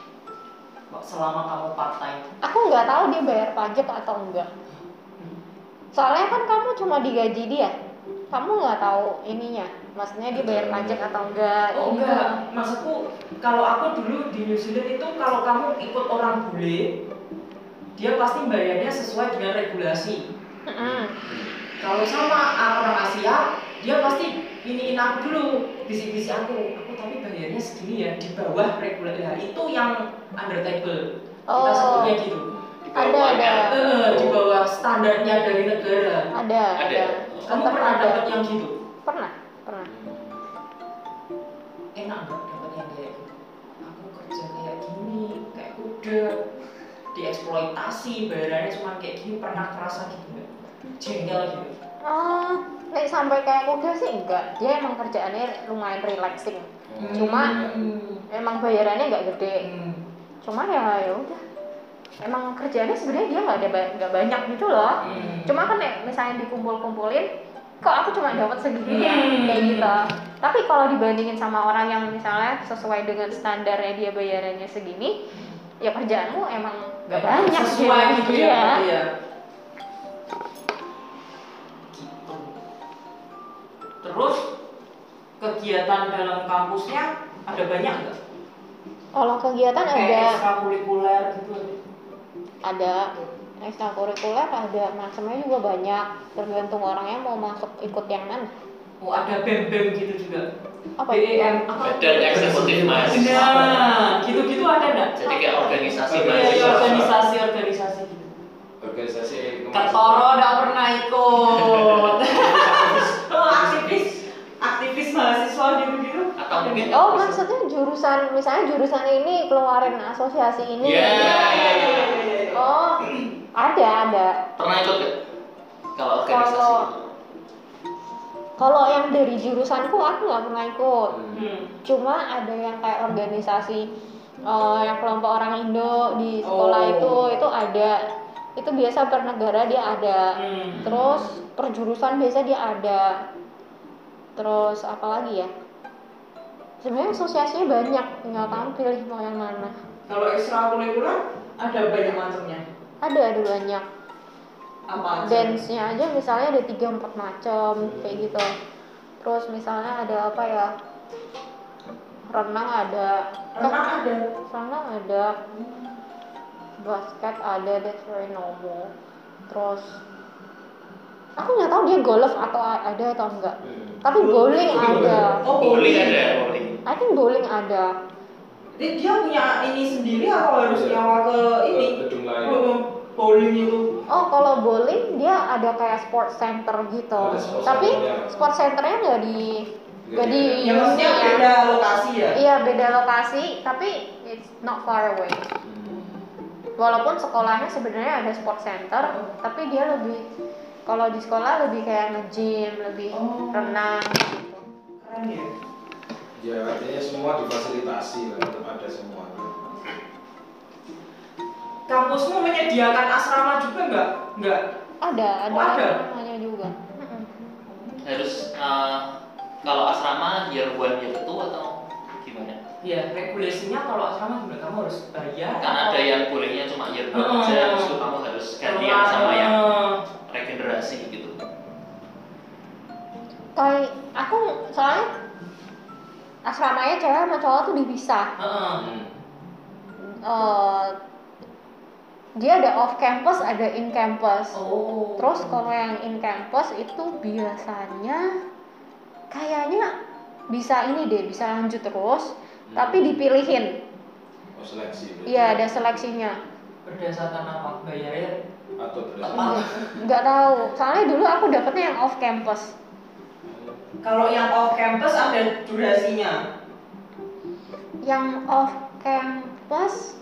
Wah, selama kamu part time aku nggak tahu dia bayar pajak atau enggak soalnya kan kamu cuma digaji dia kamu nggak tahu ininya maksudnya dia bayar pajak atau enggak oh gitu. enggak maksudku kalau aku dulu di New Zealand itu kalau kamu ikut orang bule dia pasti bayarnya sesuai dengan regulasi Mm-mm. kalau sama orang Asia dia pasti iniin aku dulu bisik-bisik aku aku tapi bayarnya segini ya di bawah regulasi Nah, itu yang under table kita oh sebutnya gitu Di bawah ada ada UMR. Eh, di bawah standarnya dari negara ada Ada. ada ya? kamu Tetap pernah ada. dapet yang gitu pernah pernah enak nggak dapat yang kayak gitu aku kerja kayak gini kayak kuda dieksploitasi bayarannya cuma kayak gini pernah kerasa gitu nggak jengkel gitu Ah, nek sampai kayak kuda sih enggak dia emang kerjaannya lumayan relaxing Hmm. Cuma- Hmm. emang bayarannya nggak gede Hmm. cuma ya ya udah emang kerjaannya sebenarnya dia nggak ada ba- nggak banyak gitu loh Hmm. cuma kan ya, misalnya dikumpul-kumpulin kok aku cuma dapat segini ya Hmm. kayak gitu tapi kalau dibandingin sama orang yang misalnya sesuai dengan standarnya dia bayarannya segini ya kerjaanmu emang gak banyak sesuai gitu ya Iya. berarti ya. gitu terus kegiatan dalam kampusnya ada banyak nggak kalau kegiatan Kan ada kayak ekstrakurikuler gitu ada ekstrakurikuler ada macamnya juga banyak tergantung orangnya mau masuk ikut yang mana oh ada bem bem gitu juga apa BEM apa Badan eksekutif mahasiswa. Nah, gitu-gitu ada nggak? Jadi kayak organisasi Iya, Iya, iya, mahasiswa. organisasi-organisasi gitu. Organisasi Ketoro nggak pernah ikut. *laughs* Oh, aktivis, aktivis mahasiswa gitu-gitu. Atau mungkin- oh maksudnya jurusan misalnya jurusan ini keluarin asosiasi ini Iya, iya, iya. oh ada ada Pernah ikut nggak? Kalau organisasi Kalau- Kalau yang dari jurusanku aku nggak pernah ikut. Hmm. Cuma ada yang kayak organisasi eh, yang kelompok orang Indo di sekolah Oh. itu itu ada. Itu biasa per negara dia ada. Hmm. Terus per jurusan biasa dia ada. Terus apa lagi ya? Sebenarnya asosiasinya banyak, tinggal kamu pilih mau yang mana. Kalau ekstrakurikuler ada banyak macamnya. Ada ada banyak. Apa aja? dance-nya aja misalnya ada tiga empat macam kayak gitu terus misalnya ada apa ya renang ada renang ada. renang ada basket ada that's very normal terus aku nggak tahu dia golf atau a- ada atau enggak tapi bowling ada Oh, bowling ada ya? bowling. I think bowling ada Dia, dia punya ini sendiri atau harus Iya. nyawa ke ke ini? gedung lain Hmm, Bowling itu. Oh, kalau bowling dia ada kayak sport center gitu. Ada sport Tapi center-nya. sport centernya nggak di nggak di Ya maksudnya Iya. beda lokasi ya. Iya beda lokasi, tapi it's not far away. Hmm. Walaupun sekolahnya sebenarnya ada sport center, tapi dia lebih kalau di sekolah lebih kayak nge-gym, lebih Oh. renang gitu. Keren ya. ya artinya semua difasilitasi lah tetap ada semua Hmm. Kampusmu menyediakan asrama juga nggak? Nggak. Ada, ada Oh, ada? namanya juga. Mm-mm. harus eh, kalau asrama year one year two atau gimana? Ya regulasinya kalau asrama juga kamu harus bayar. Karena ada yang bolehnya cuma year one aja, terus itu kamu harus gantian sama ya? yang regenerasi gitu. Kayak aku soalnya asramanya cewek sama cowok tuh dipisah. Heeh. Hmm. Eh, dia ada off campus, ada in campus. Oh. Terus kalau yang in campus itu biasanya kayaknya bisa ini deh, bisa lanjut terus, tapi dipilihin. oh, seleksi berarti. Iya, ada seleksinya. berdasarkan apa bayarnya? atau Tepat. berdasarkan Nggak tahu. Soalnya dulu aku dapetnya yang off campus. Kalau yang off campus ada durasinya. Yang off campus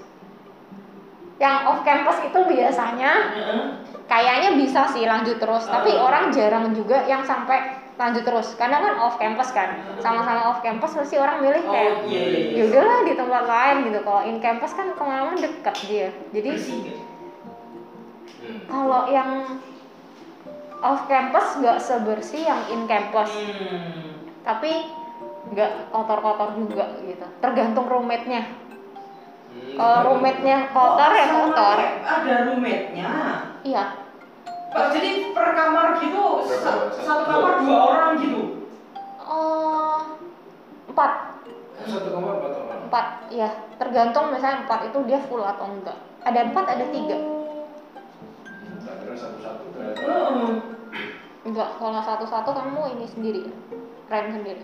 yang off campus itu biasanya Heeh. kayaknya bisa sih lanjut terus, tapi Ah. orang jarang juga yang sampai lanjut terus. Karena kan off campus kan, sama-sama off campus pasti orang milih Oh kayak iya iya. ya iya. udahlah di tempat lain gitu kalau in campus kan pengalaman dekat dia jadi Bersih nggak? Hmm. kalau yang off campus nggak sebersih yang in campus Hmm. tapi nggak kotor-kotor juga gitu tergantung roommate-nya Hmm, kalau roommate-nya Oh, kotor ya sama kotor kayak Ada roommate-nya. iya Pak, jadi per kamar gitu sa- Berapa? satu kamar dua orang gitu. oh empat satu kamar empat orang empat ya tergantung misalnya empat itu dia full atau enggak ada empat ada tiga Hmm, tak kira satu-satu ternyata Heeh. enggak kalau satu-satu kamu ini sendiri rent sendiri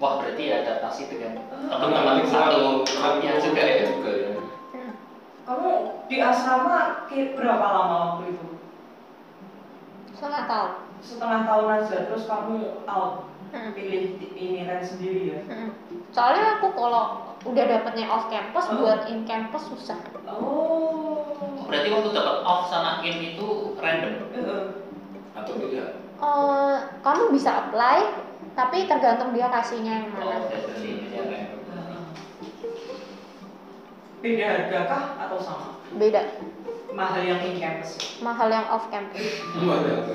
Wah berarti ya adaptasi dengan Teman-teman teman-teman satu grupnya juga ya. juga ya Hmm. Kamu di asrama ki- berapa lama waktu itu? setengah tahun Setengah tahun aja terus kamu out Hmm. pilih di- ini rent sendiri ya. Mm. Soalnya aku kalau udah dapetnya off campus Oh. buat in campus susah. Oh. Berarti waktu dapat off sama in itu random. Heeh. atau pilihan Eh, kamu bisa apply tapi tergantung dia kasihnya yang Oh, mana. berarti ya random. Beda harga kah atau sama? Beda Mahal yang in campus. mahal yang off campus. Banyak.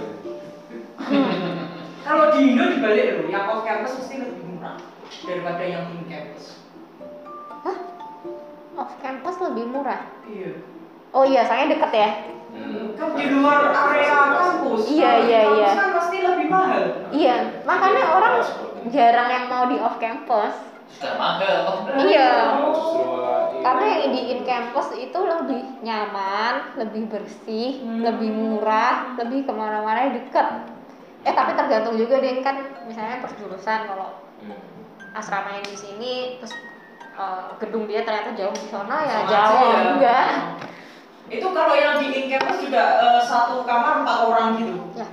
Kalau di Indo dibalik loh, yang off campus mesti lebih murah daripada yang in campus. Off campus lebih murah. Iya. Oh iya, soalnya deket ya. Hmm. Kan di luar area kampus. Iya, kalau di iya, kampus iya. Kan pasti lebih mahal. Iya, makanya orang Iya, Seperti- jarang yang mau di off campus. Sudah oh, mahal. Iya. Justru malah ini. Karena yang di in campus itu lebih nyaman, lebih bersih, Hmm. lebih murah, lebih kemana-mana deket. Eh tapi tergantung juga deh kan misalnya perjurusan kalau Hmm. asrama yang di sini terus eh, gedung dia ternyata jauh di sana ya Sama jauh aja ya. juga Itu kalau yang di in campus juga eh, satu kamar empat orang gitu. ya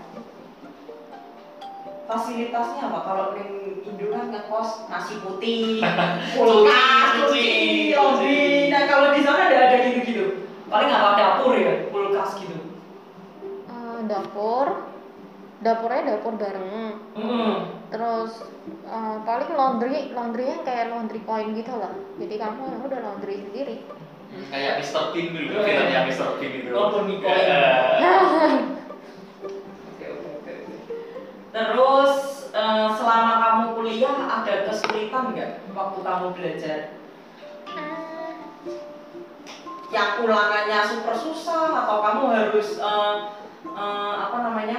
Fasilitasnya apa? Kalau yang Indo kan ngekos nasi putih, Cuci, kulkas, cuci, cuci, cuci. laundry. Nah kalau di sana ada ada gitu-gitu. Paling apa dapur ya, kulkas gitu. eh, dapur dapurnya dapur bareng Mm-mm. terus eh, paling laundry laundry yang kayak laundry coin gitu lah jadi kamu ya udah laundry sendiri Kayak Mr. Bean Iya. dulu, filmnya Mr. Bean itu. Oh, Bonnie Coy. Iya. Oke, oke, oke, oke. Terus eh, selama kamu kuliah ada kesulitan nggak waktu kamu belajar? Hmm, Yang ulangannya super susah atau kamu harus eh, eh, apa namanya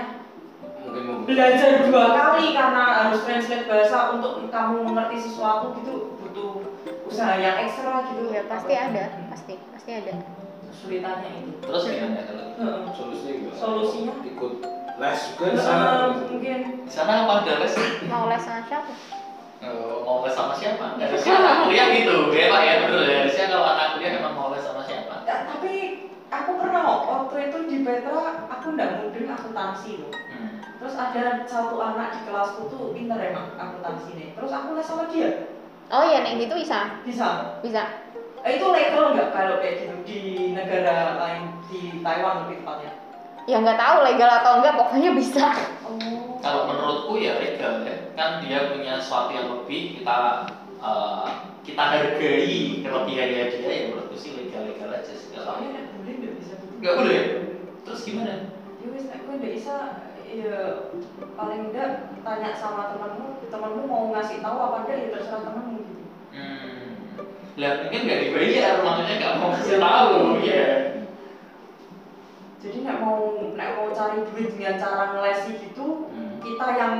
mungkin mau- belajar dua kali karena harus translate bahasa untuk kamu mengerti sesuatu gitu butuh usaha yang ekstra gitu ya pasti ada pasti pasti ada kesulitannya itu. Terus gimana kalau Heeh. solusinya gimana? Solusinya? ikut les juga di sana Eh, mungkin di sana apa ada les? mau les sama siapa eh, mau les sama siapa? Nggak harusnya anak kuliah gitu, ya Pak ya, betul ya. Harusnya kalau anak kuliah emang mau les sama siapa? Ya, tapi aku pernah kok, waktu itu di Petra aku ndak mudeng akuntansi loh. Hmm. Terus ada satu anak di kelasku tuh pinter emang akuntansi nih. Terus aku les sama dia, oh ya nek gitu bisa bisa. bisa Eh, itu legal nggak kalau kayak gitu di negara lain di Taiwan lebih tepatnya? ya nggak tahu legal atau enggak pokoknya bisa Oh. Kalau menurutku ya legal ya, kan dia punya sesuatu yang lebih kita eh, kita hargai kelebihannya dia ya menurutku sih legal-legal aja sih kalau Soalnya nggak boleh nggak bisa. Nggak boleh ya? Terus gimana? Ya wis, aku nggak bisa. Ya paling enggak tanya sama temanmu, temanmu mau ngasih tahu apa enggak ya terserah temanmu. Hmm. Lah mungkin nggak dibayar, maksudnya nggak mau kasih tahu ya. Jadi nggak mau nggak mau cari duit dengan cara ngelesi gitu, kita yang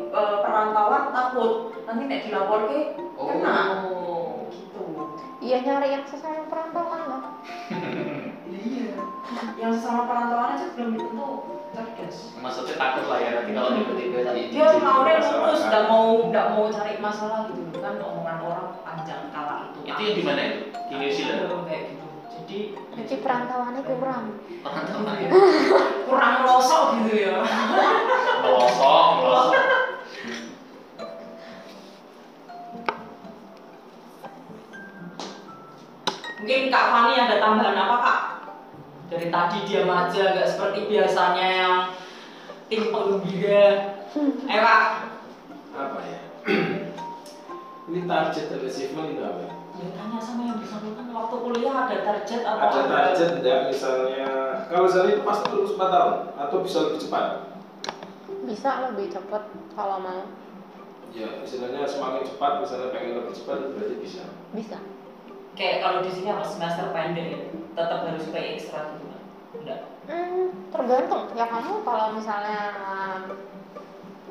eh, perantauan takut nanti nek dilapor ke Kena. Oh. gitu iya nyari yang sesama perantauan lah iya yang sesama perantauan aja belum tentu cerdas Maksudnya takut lah ya nanti kalau tiba-tiba tadi. dia mau deh masalah lulus kan. nggak mau nggak mau cari masalah gitu kan omongan orang panjang kala itu Itu yang di mana itu? Di New Zealand. Iya, kayak gitu jadi Iya. jadi perantauannya kurang Perantauan. kurang losok gitu ya Melosok, melosok. mungkin kak Fani ada tambahan apa kak dari tadi dia aja nggak seperti biasanya yang tim penggembira eh kak apa ya *clears throat* ini target dan achievement itu apa ya? Ya tanya sama yang bersangkutan waktu kuliah ada target atau ada target enggak misalnya kalau misalnya itu pasti lulus 4 tahun atau bisa lebih cepat bisa lebih cepet kalau mau ya misalnya semakin cepat misalnya pengen lebih cepat itu berarti bisa bisa Kayak kalau di sini apa semester pendek ya, tetap harus pay ekstra gitu kan? Enggak. Hmm, tergantung ya kamu kalau misalnya um,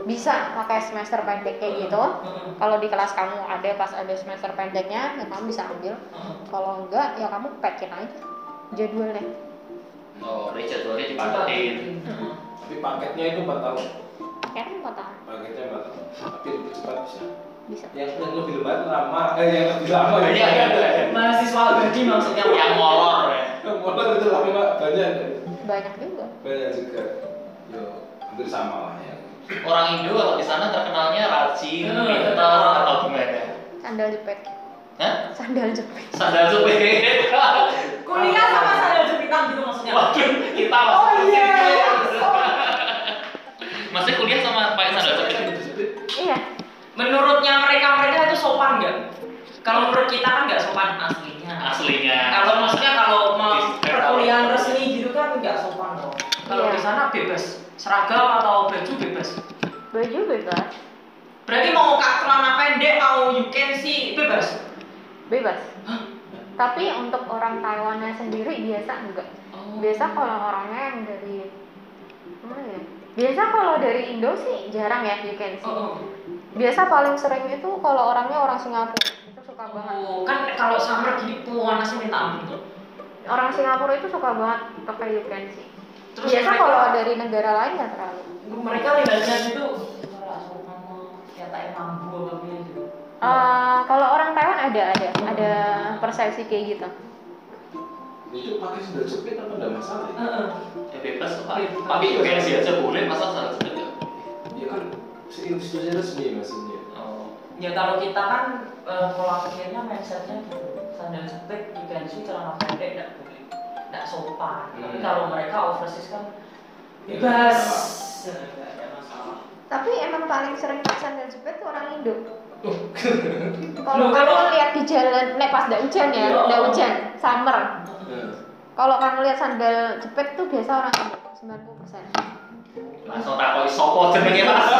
bisa pakai semester pendek kayak gitu Heeh, kalau di kelas kamu ada pas ada semester pendeknya ya kamu bisa ambil heeh. kalau enggak ya kamu packin aja jadwalnya Oh, dari jadwalnya dipaketin. Heeh. tapi paketnya itu 4 tahun kayaknya empat tahun paketnya 4 tahun tapi lebih cepat bisa bisa yang, yang lebih lebat lama eh yang lebih lama Banyak ya. Mahasiswa abadi maksudnya Yang molor ya. yang molor itu lama Pak. banyak banyak juga banyak juga yo hampir sama lah ya Orang Indo kalau di sana terkenalnya rajin, Hmm. pinter atau gimana? sandal jepit *laughs* Hah? sandal jepit Sandal Oh, jepit. Kuliah sama sandal jepitan gitu maksudnya. Waduh, kita masih Oh, iya. Masih kuliah sama pakai sandal jepit. iya Menurutnya mereka mereka itu sopan nggak? Kalau menurut kita kan nggak sopan aslinya. Aslinya. Kalau maksudnya kalau mau Di- perkuliahan resmi gitu kan nggak sopan dong. Kalau Iya. di sana bebas, seragam atau baju bebas. baju bebas Berarti mau kak celana pendek mau you can see bebas. bebas tapi untuk orang Taiwannya sendiri biasa enggak Oh. biasa kalau orangnya yang dari mana ya biasa kalau dari Indo sih jarang ya you can see Oh, biasa paling sering itu kalau orangnya orang Singapura itu suka oh. banget Oh, kan kalau summer gini pewanasnya minta ampun tuh. orang Singapura itu suka banget pakai you can see Terus biasa mereka- Oh. kalau dari negara lain nggak terlalu mereka lidahnya gitu "Wala, sopan lo, kayak tai mambu apa gini gitu. Eh, kalau orang Taiwan ada ada ada Oh. persepsi kayak gitu itu pakai sudah jepit apa enggak masalah ya? Heeh. Ya bebas Pak. Tapi UKSI aja boleh, masa sandal jepit nggak? ya kan institusi resmi maksudnya Oh. Ya kalau kita kan eh, pola pikirnya mindsetnya gitu. Sandal jepit, diganti celana pendek enggak boleh. Enggak sopan. Tapi Hmm. kalau mereka overseas kan Ya, bebas. Nggak ada masalah. tapi emang paling sering pesan dan jepit tuh orang Indo Oh. Tuh. Loh, kalau kalau- kamu lihat di jalan nek pas nggak hujan ya Iya. nggak hujan summer Nah, Kalau kamu lihat sandal jepit tuh biasa orang Indo, 90 persen. Langsung takoi sopo jenenge Mas.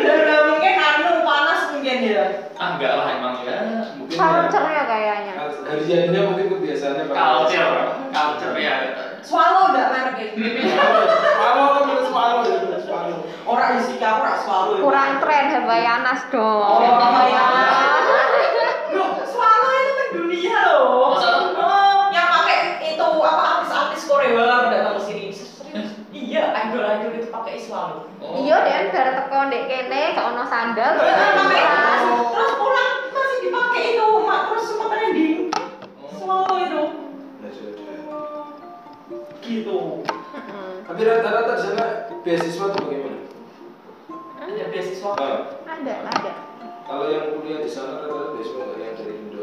Dan nggak mungkin anu panas mungkin ya. Ah enggak lah emang ya. mungkin ya, Culture ya kayaknya. hariannya mungkin kebiasaannya pakai- Culture, culture ya. Swallow enggak merek. ya? Swallow, terus swallow, terus swallow. Orang isi kamu ora swallow. ya. Kurang tren Havaianas dong. Oh, Loh, swallow itu mendunia loh. Masa? Oh, yang pakai itu apa artis-artis Korea datang ke sini. Serius? Iya, idol-idol itu pakai swallow. Oh. Iya, dan gara teko ndek kene gak ono sandal Terus gak ono makanya tas. terus- terus pulang masih dipakai itu mak terus semua trending selalu itu Nah, gitu Mm-mm. Tapi rata-rata di sana beasiswa tuh bagaimana? ada beasiswa Nah, ada ada kalau yang kuliah di sana rata-rata beasiswa nggak yang dari Indo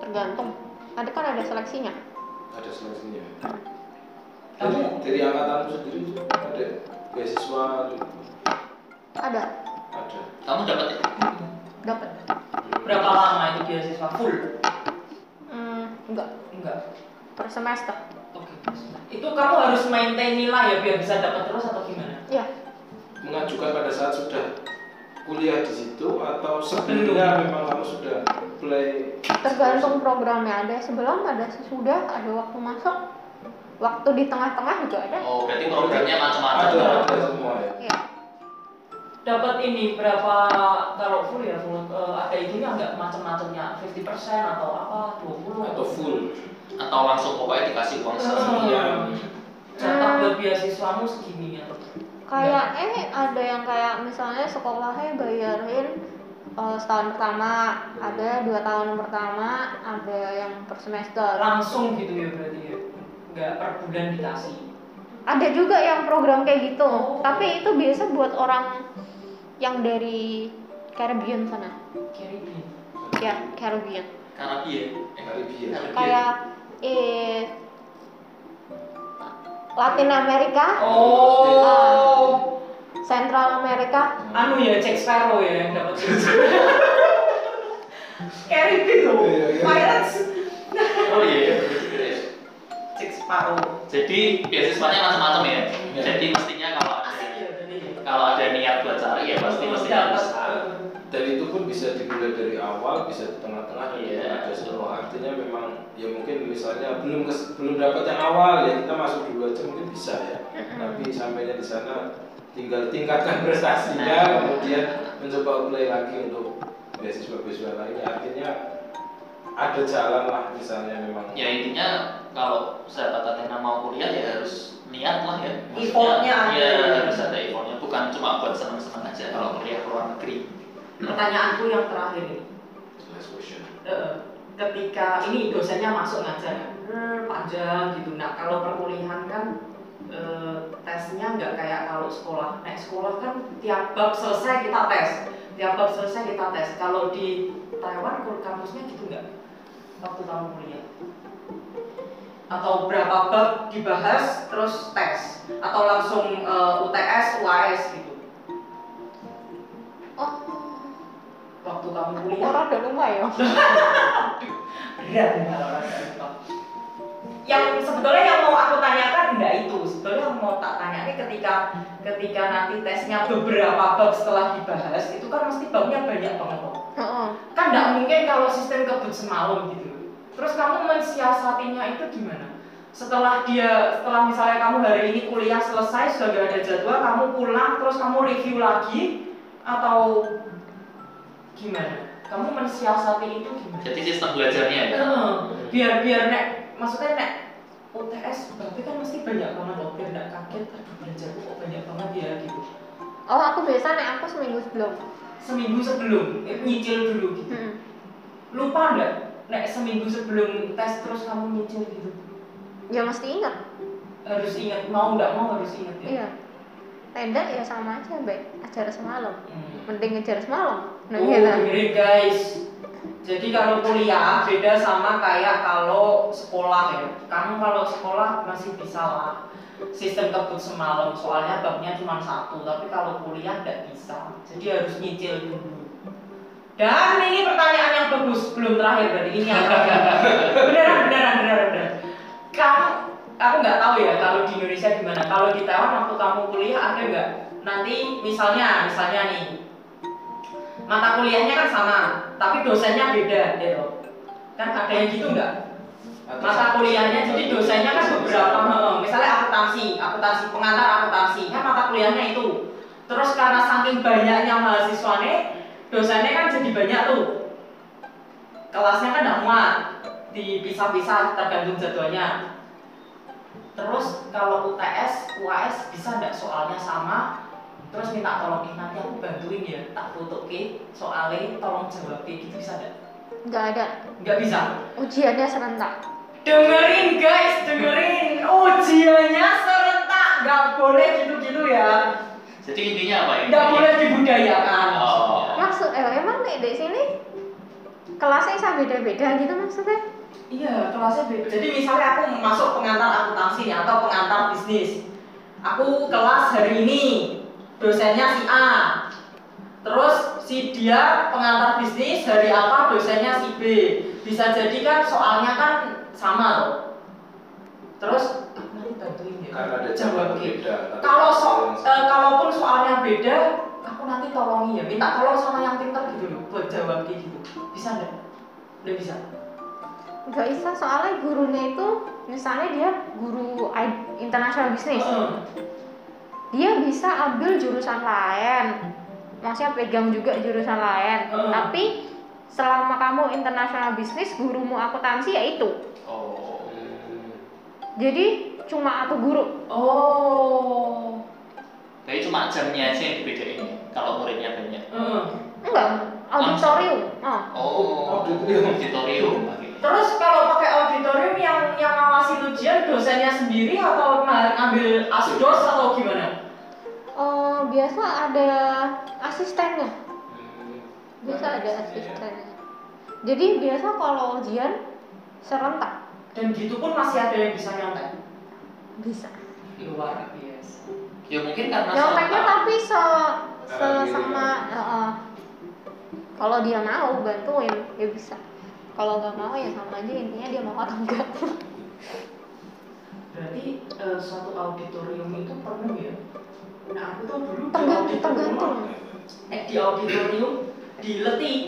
tergantung ada kan ada seleksinya ada seleksinya. Dari, kamu dari angkatanmu sendiri tuh ada beasiswa tuh ada ada. kamu dapat ya? Iya. dapat berapa lama itu beasiswa full hmm, enggak enggak per semester oke itu kamu harus maintain nilai ya biar bisa dapat terus atau gimana ya Mengajukan pada saat sudah kuliah di situ atau sebelumnya memang kamu sudah play tergantung programnya ada sebelum ada sesudah ada waktu masuk waktu di tengah-tengah juga ada oh berarti programnya macam-macam ada ada semua ya. ya dapat ini berapa kalau full ya full eh, ada itunya enggak macam-macamnya 50% atau apa 20 atau full atau langsung pokoknya dikasih uang Iya. sekian jatah buat beasiswamu segini ya kayak eh ada yang kayak misalnya sekolahnya bayarin eh, setahun pertama ada dua tahun pertama ada yang per semester langsung gitu ya berarti ya nggak per bulan dikasih ada juga yang program kayak gitu tapi itu biasa buat orang yang dari Caribbean sana Caribbean ya Caribbean karena iya eh, Karibia. Karibia. kayak eh Latin Amerika, oh Ah. Central Amerika, anu ya Jack Sparrow gitu. ya yang dapat *laughs* Caribbean loh Iya, iya. pirates oh iya Jack Sparrow jadi beasiswanya macam-macam ya Iya. jadi mestinya kalau ada asik ya Iya, tadi ya kalau ada niat buat cari ya pasti Terus mesti dapat, harus dan itu pun bisa dimulai dari awal bisa di tengah-tengah dan Iya. yeah. ada semua artinya memang ya mungkin misalnya belum kes- belum dapat yang awal ya kita masuk dulu aja mungkin bisa ya tapi sampainya di sana tinggal tingkatkan *laughs* prestasinya Nah. kemudian mencoba play lagi untuk beasiswa beasiswa lainnya artinya ada jalan lah misalnya memang ya intinya kalau sahabat Athena mau kuliah ya harus niat lah ya Maksudnya, Effortnya ada. ya harus ada effortnya bukan cuma buat seneng-seneng aja kalau kuliah ke luar negeri pertanyaanku yang terakhir ini Last question. Eh, ketika ini dosennya masuk ngajar kan, "Brr, panjang gitu nah kalau perkuliahan kan eh, tesnya nggak kayak kalau sekolah naik sekolah kan tiap bab selesai kita tes tiap bab selesai kita tes kalau di Taiwan kur- kampusnya gitu nggak waktu kamu kuliah atau berapa bab dibahas terus tes atau langsung eh, UTS UAS gitu oh waktu kamu kuliah orang dari ya berat nih kalau orang kayak gitu. yang sebetulnya yang mau aku tanyakan enggak itu sebetulnya yang mau tak tanya ini ketika ketika nanti tesnya beberapa bab setelah dibahas itu kan mesti babnya banyak banget Pak. Heeh. kan enggak mungkin kalau sistem kebut semalam gitu loh. terus kamu mensiasatinya itu gimana setelah dia setelah misalnya kamu hari ini kuliah selesai sudah gak ada jadwal kamu pulang terus kamu review lagi atau gimana kamu mensiasati itu gimana jadi sistem belajarnya ya Heeh, biar biar nek maksudnya nek UTS berarti kan mesti banyak banget loh biar nggak kaget aduh belajarku kok banyak banget ya gitu oh aku biasa naik aku seminggu sebelum seminggu sebelum eh, nyicil dulu gitu Heeh. lupa nggak nek seminggu sebelum tes terus kamu nyicil gitu ya mesti ingat harus ingat mau nggak mau harus ingat ya iya tenda ya sama aja baik acara semalam Hmm. mending ngejar semalam nah Oh, iya kan? dengerin guys. Jadi kalau kuliah beda sama kayak kalau sekolah ya. Kamu kalau sekolah masih bisa lah sistem kebut semalam soalnya babnya cuma satu tapi kalau kuliah nggak bisa jadi harus nyicil dulu dan ini pertanyaan yang bagus belum terakhir berarti ini yang terakhir beneran beneran beneran beneran kamu aku nggak tahu ya kalau di Indonesia gimana kalau di Taiwan waktu kamu kuliah ada nggak nanti misalnya misalnya nih mata kuliahnya kan sama, tapi dosennya beda, ya toh. Kan ada yang gitu nggak? Atau- Mata kuliahnya, jadi dosennya kan beberapa, heeh. misalnya akuntansi, akuntansi pengantar akuntansi, kan mata kuliahnya itu. Terus karena saking banyaknya mahasiswanya, dosennya kan jadi banyak tuh. Kelasnya kan nggak muat, dipisah-pisah tergantung jadwalnya. Terus kalau UTS, UAS bisa nggak soalnya sama, terus minta tolong "Eh, nanti aku bantuin ya tak foto ke soalnya tolong jawab ke gitu bisa nggak nggak ada nggak bisa ujiannya serentak dengerin guys dengerin ujiannya serentak nggak boleh gitu-gitu ya Jadi intinya apa ya? nggak boleh dibudayakan Oh. maksud eh, emang nih di sini kelasnya bisa beda-beda gitu maksudnya Iya, kelasnya beda. Jadi misalnya aku masuk pengantar akuntansi nih, atau pengantar bisnis. Aku kelas hari ini, dosennya si A. Terus si dia pengantar bisnis hari apa dosennya si B. Bisa jadi kan soalnya kan sama loh. Terus aku nanti bantuin ya. karena ada Jawab jawaban gitu. beda tapi Kalau so, hasilnya eh, kalaupun soalnya beda, aku nanti tolongi ya. Minta tolong sama yang pintar gitu loh buat jawab kayak gitu. Bisa nggak? Nggak bisa. nggak bisa soalnya gurunya itu misalnya dia guru I- international business Heeh. dia bisa ambil jurusan lain maksudnya pegang juga jurusan lain Hmm. tapi selama kamu international business gurumu akuntansi ya itu Oh. Hmm. jadi cuma aku guru Oh. Jadi cuma jamnya aja yang dibedain ya, kalau muridnya banyak. Heeh. enggak auditorium oh. Oh, Auditorium. auditorium. Oke. Terus kalau pakai auditorium yang yang ngawasin ujian dosennya sendiri atau ma- ngambil asdos atau gimana? Eh, biasa ada asistennya Hmm. biasa Bagus, ada ya. asistennya jadi biasa kalau ujian serentak Dan gitu pun masih ada yang bisa nyontek. bisa Luar biasa. Ya mungkin karena nyonteknya serentak. tapi se, se Kayak gini sama kan. eh, eh. kalau dia mau bantuin ya bisa kalau nggak mau ya sama aja intinya dia mau atau enggak Berarti eh, suatu auditorium itu penuh ya. Nah aku tuh dulu di tergantung auditorium- tergantung Eh, di auditorium diletih.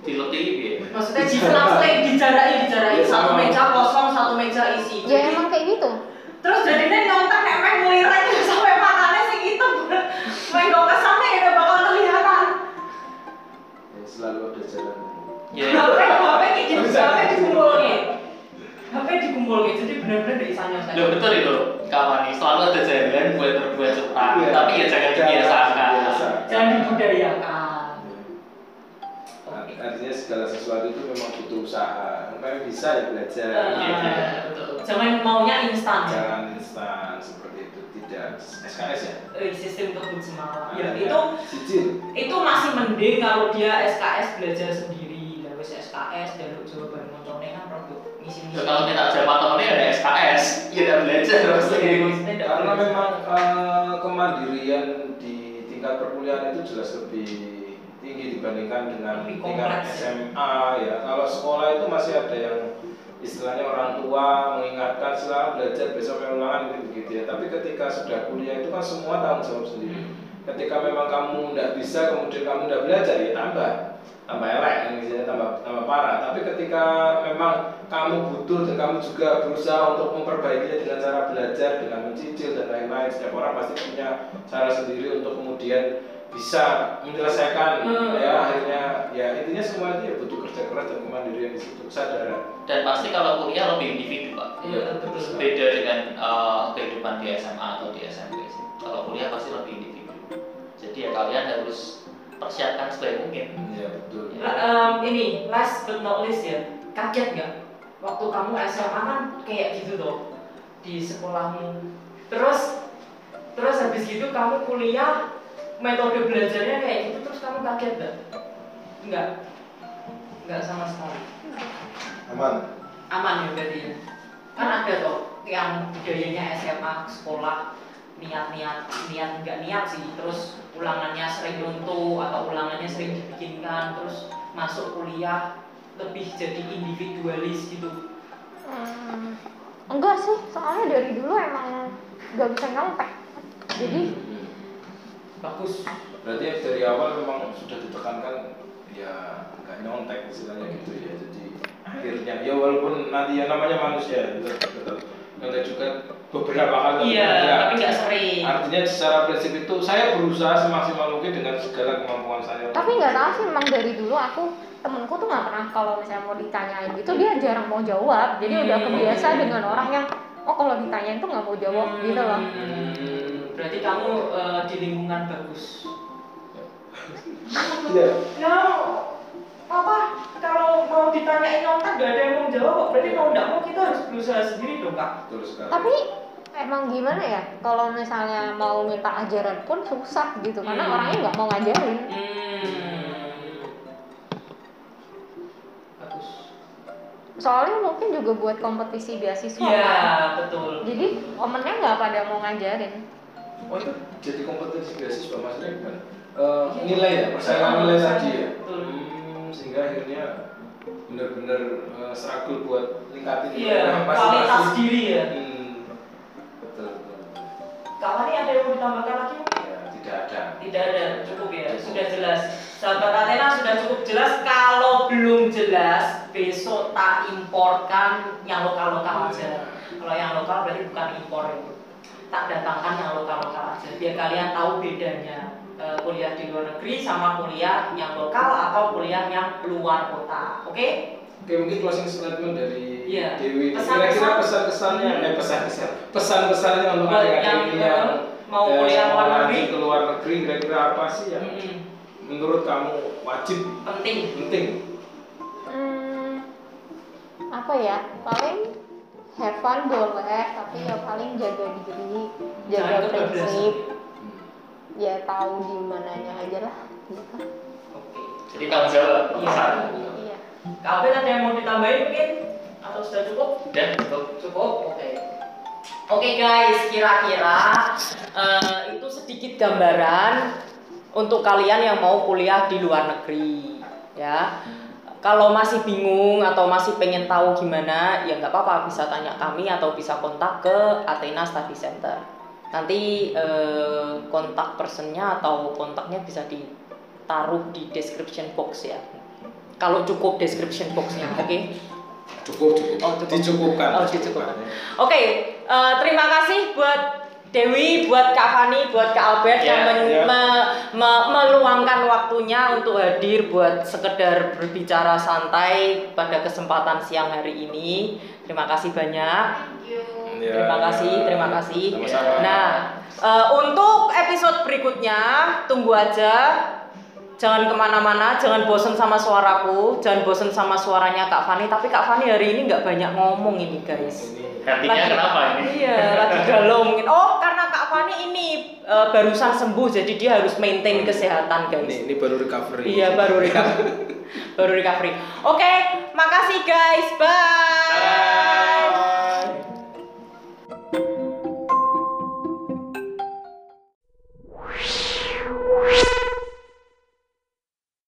Dileti ya. Maksudnya di selang-seling dijarai dijarai Iya, satu meja kosong satu meja isi. Jadi, ya emang kayak gitu terus jadinya nyontek emang ngelirik *laughs* sampai matanya sing itu main gak kesana ya udah bakal kelihatan Ya, selalu ada jalan Ya. HP HP ini di HP dikumpulin HP dikumpulin jadi benar-benar dari sana Loh betul itu. Kawan nih, selalu ada jalan buat berbuat curhat, Iya. tapi ya jangan dibiasakan. Biasa. jangan dibudayakan Nah, artinya segala sesuatu itu memang butuh usaha makanya bisa ya belajar Iya, iya. Eh, betul. jangan maunya instan ya jangan instan seperti itu tidak SKS ya Eh, sistem kebut semalam Iya, ya Ada itu sijil itu masih mending kalau dia SKS belajar sendiri dan wis SKS dan jawaban moncongnya kan produk misi Ya, misi Kalau minta jawaban temennya ada SKS, ya udah belajar harus ini. karena kan memang eh, kemandirian di tingkat perkuliahan itu jelas lebih tinggi dibandingkan dengan Lebih tingkat kompleks. SMA ya kalau sekolah itu masih ada yang istilahnya orang tua mengingatkan selalu belajar besok yang ulangan itu begitu ya tapi ketika sudah kuliah itu kan semua tanggung jawab sendiri Hmm. ketika memang kamu tidak bisa kemudian kamu tidak belajar ya tambah tambah elek kan, misalnya tambah tambah parah tapi ketika memang kamu butuh dan kamu juga berusaha untuk memperbaikinya dengan cara belajar dengan mencicil dan lain-lain setiap orang pasti punya cara sendiri untuk kemudian bisa menyelesaikan Hmm. ya akhirnya ya intinya semua itu ya butuh kerja keras dan kemandirian di situ kesadaran Dan pasti kalau kuliah lebih individu pak. Iya, betul. Beda dengan eh, kehidupan di SMA atau di SMP sih. Kalau kuliah pasti lebih individu. Jadi ya kalian harus persiapkan sebaik mungkin. ya betul Nah, em, ini last but not least ya kaget nggak waktu kamu SMA kan kayak gitu loh di sekolahmu terus terus habis gitu kamu kuliah metode belajarnya kayak gitu terus kamu kaget nggak nggak nggak sama sekali aman aman ya berarti ya? kan ada toh yang budayanya SMA sekolah niat-niat niat nggak niat sih terus ulangannya sering runtuh atau ulangannya sering dibikinkan terus masuk kuliah lebih jadi individualis gitu Hmm, enggak sih soalnya dari dulu emang nggak bisa nyontek jadi Hmm. bagus berarti dari awal memang sudah ditekankan ya nggak nyontek istilahnya gitu ya jadi akhirnya ya walaupun nanti yang namanya manusia tetap tetap nyontek juga beberapa kali tapi iya nggak. tapi nggak sering artinya secara prinsip itu saya berusaha semaksimal mungkin dengan segala kemampuan saya tapi nggak tahu sih emang dari dulu aku temenku tuh nggak pernah kalau misalnya mau ditanyain gitu dia jarang mau jawab jadi udah Hmm. Ya kebiasa dengan orang yang oh kalau ditanyain tuh nggak mau jawab gitu loh Hmm. Hmm, Berarti kamu eh, di lingkungan bagus. Iya. No, Ya, apa? Kalau mau ditanyain nyontek gak ada yang mau jawab. kok. Berarti mau nggak mau kita harus berusaha sendiri dong kak. Betul sekali. tapi emang gimana ya kalau misalnya mau minta ajaran pun susah gitu karena Hmm. orangnya nggak mau ngajarin Hmm. Bagus. soalnya mungkin juga buat kompetisi beasiswa Iya kan. betul. jadi omennya nggak pada mau ngajarin Oh itu jadi kompetensi beasiswa maksudnya gimana? Eh, nilai ya, persaingan nilai tadi ya. Iya. Betul. Hmm, sehingga akhirnya benar-benar eh, struggle buat ningkatin Iya nilai kualitas masing-masing. diri ya. Hmm, betul, betul. Kak Fani ada yang mau ditambahkan lagi? Ya, tidak ada. Tidak ada, cukup ya. Sudah jelas. Sahabat Athena sudah cukup jelas. Kalau belum jelas, besok tak imporkan yang lokal-lokal aja. Kalau yang lokal berarti bukan impor. ya. Tak datangkan yang lokal-lokal aja. Biar kalian tahu bedanya eh, kuliah di luar negeri sama kuliah yang lokal atau kuliah yang luar kota. Oke? Oke mungkin closing statement dari Iya. Dewi. Pesan-pesan. Kira-kira pesan-kesannya, eh pesan-kesan, pesan-pesannya untuk Buat adik-adik yang, ini eh, yang mau eh, kuliah mau luar lanjut negeri. ke luar negeri kira-kira apa sih yang Mm-mm. menurut kamu wajib Hmm. Penting. penting? hmm, apa ya paling have fun boleh tapi ya paling jaga diri Jangan jaga prinsip kebablasan. ya tahu di mananya aja lah gitu Oke. Jadi tanggung jawab Iya. pesan. iya Kak Alvin ada yang mau ditambahin mungkin? Atau sudah cukup? Dan untuk Cukup, oke. Oke guys, kira-kira eh, itu sedikit gambaran untuk kalian yang mau kuliah di luar negeri, ya. Kalau masih bingung atau masih pengen tahu gimana, ya nggak apa-apa bisa tanya kami atau bisa kontak ke Athena Study Center. Nanti eh, kontak personnya atau kontaknya bisa ditaruh di description box ya. Kalau cukup description boxnya, oke? Cukup, cukup. Oh, cukup. Dicukupkan. Oh, dicukupkan. Oke, eh, terima kasih buat Dewi, buat Kak Fani, buat Kak Albert Ya, yang men- ya. me- me- meluangkan waktunya untuk hadir buat sekedar berbicara santai pada kesempatan siang hari ini. Terima kasih banyak. Ya. Terima kasih, terima kasih. Sama-sama. Nah, eh, untuk episode berikutnya tunggu aja. Jangan kemana-mana, jangan bosen sama suaraku, jangan bosen sama suaranya Kak Fani. Tapi Kak Fani hari ini nggak banyak ngomong ini guys. Ini- hatinya Lagi- kenapa ini? Iya, lagi galau mungkin. Oh, karena Kak Fani ini eh, barusan sembuh, jadi dia harus maintain Hmm. kesehatan ini, Iya, guys. ini baru recovery. Iya, baru recovery. baru recovery. Oke, makasih guys. Bye.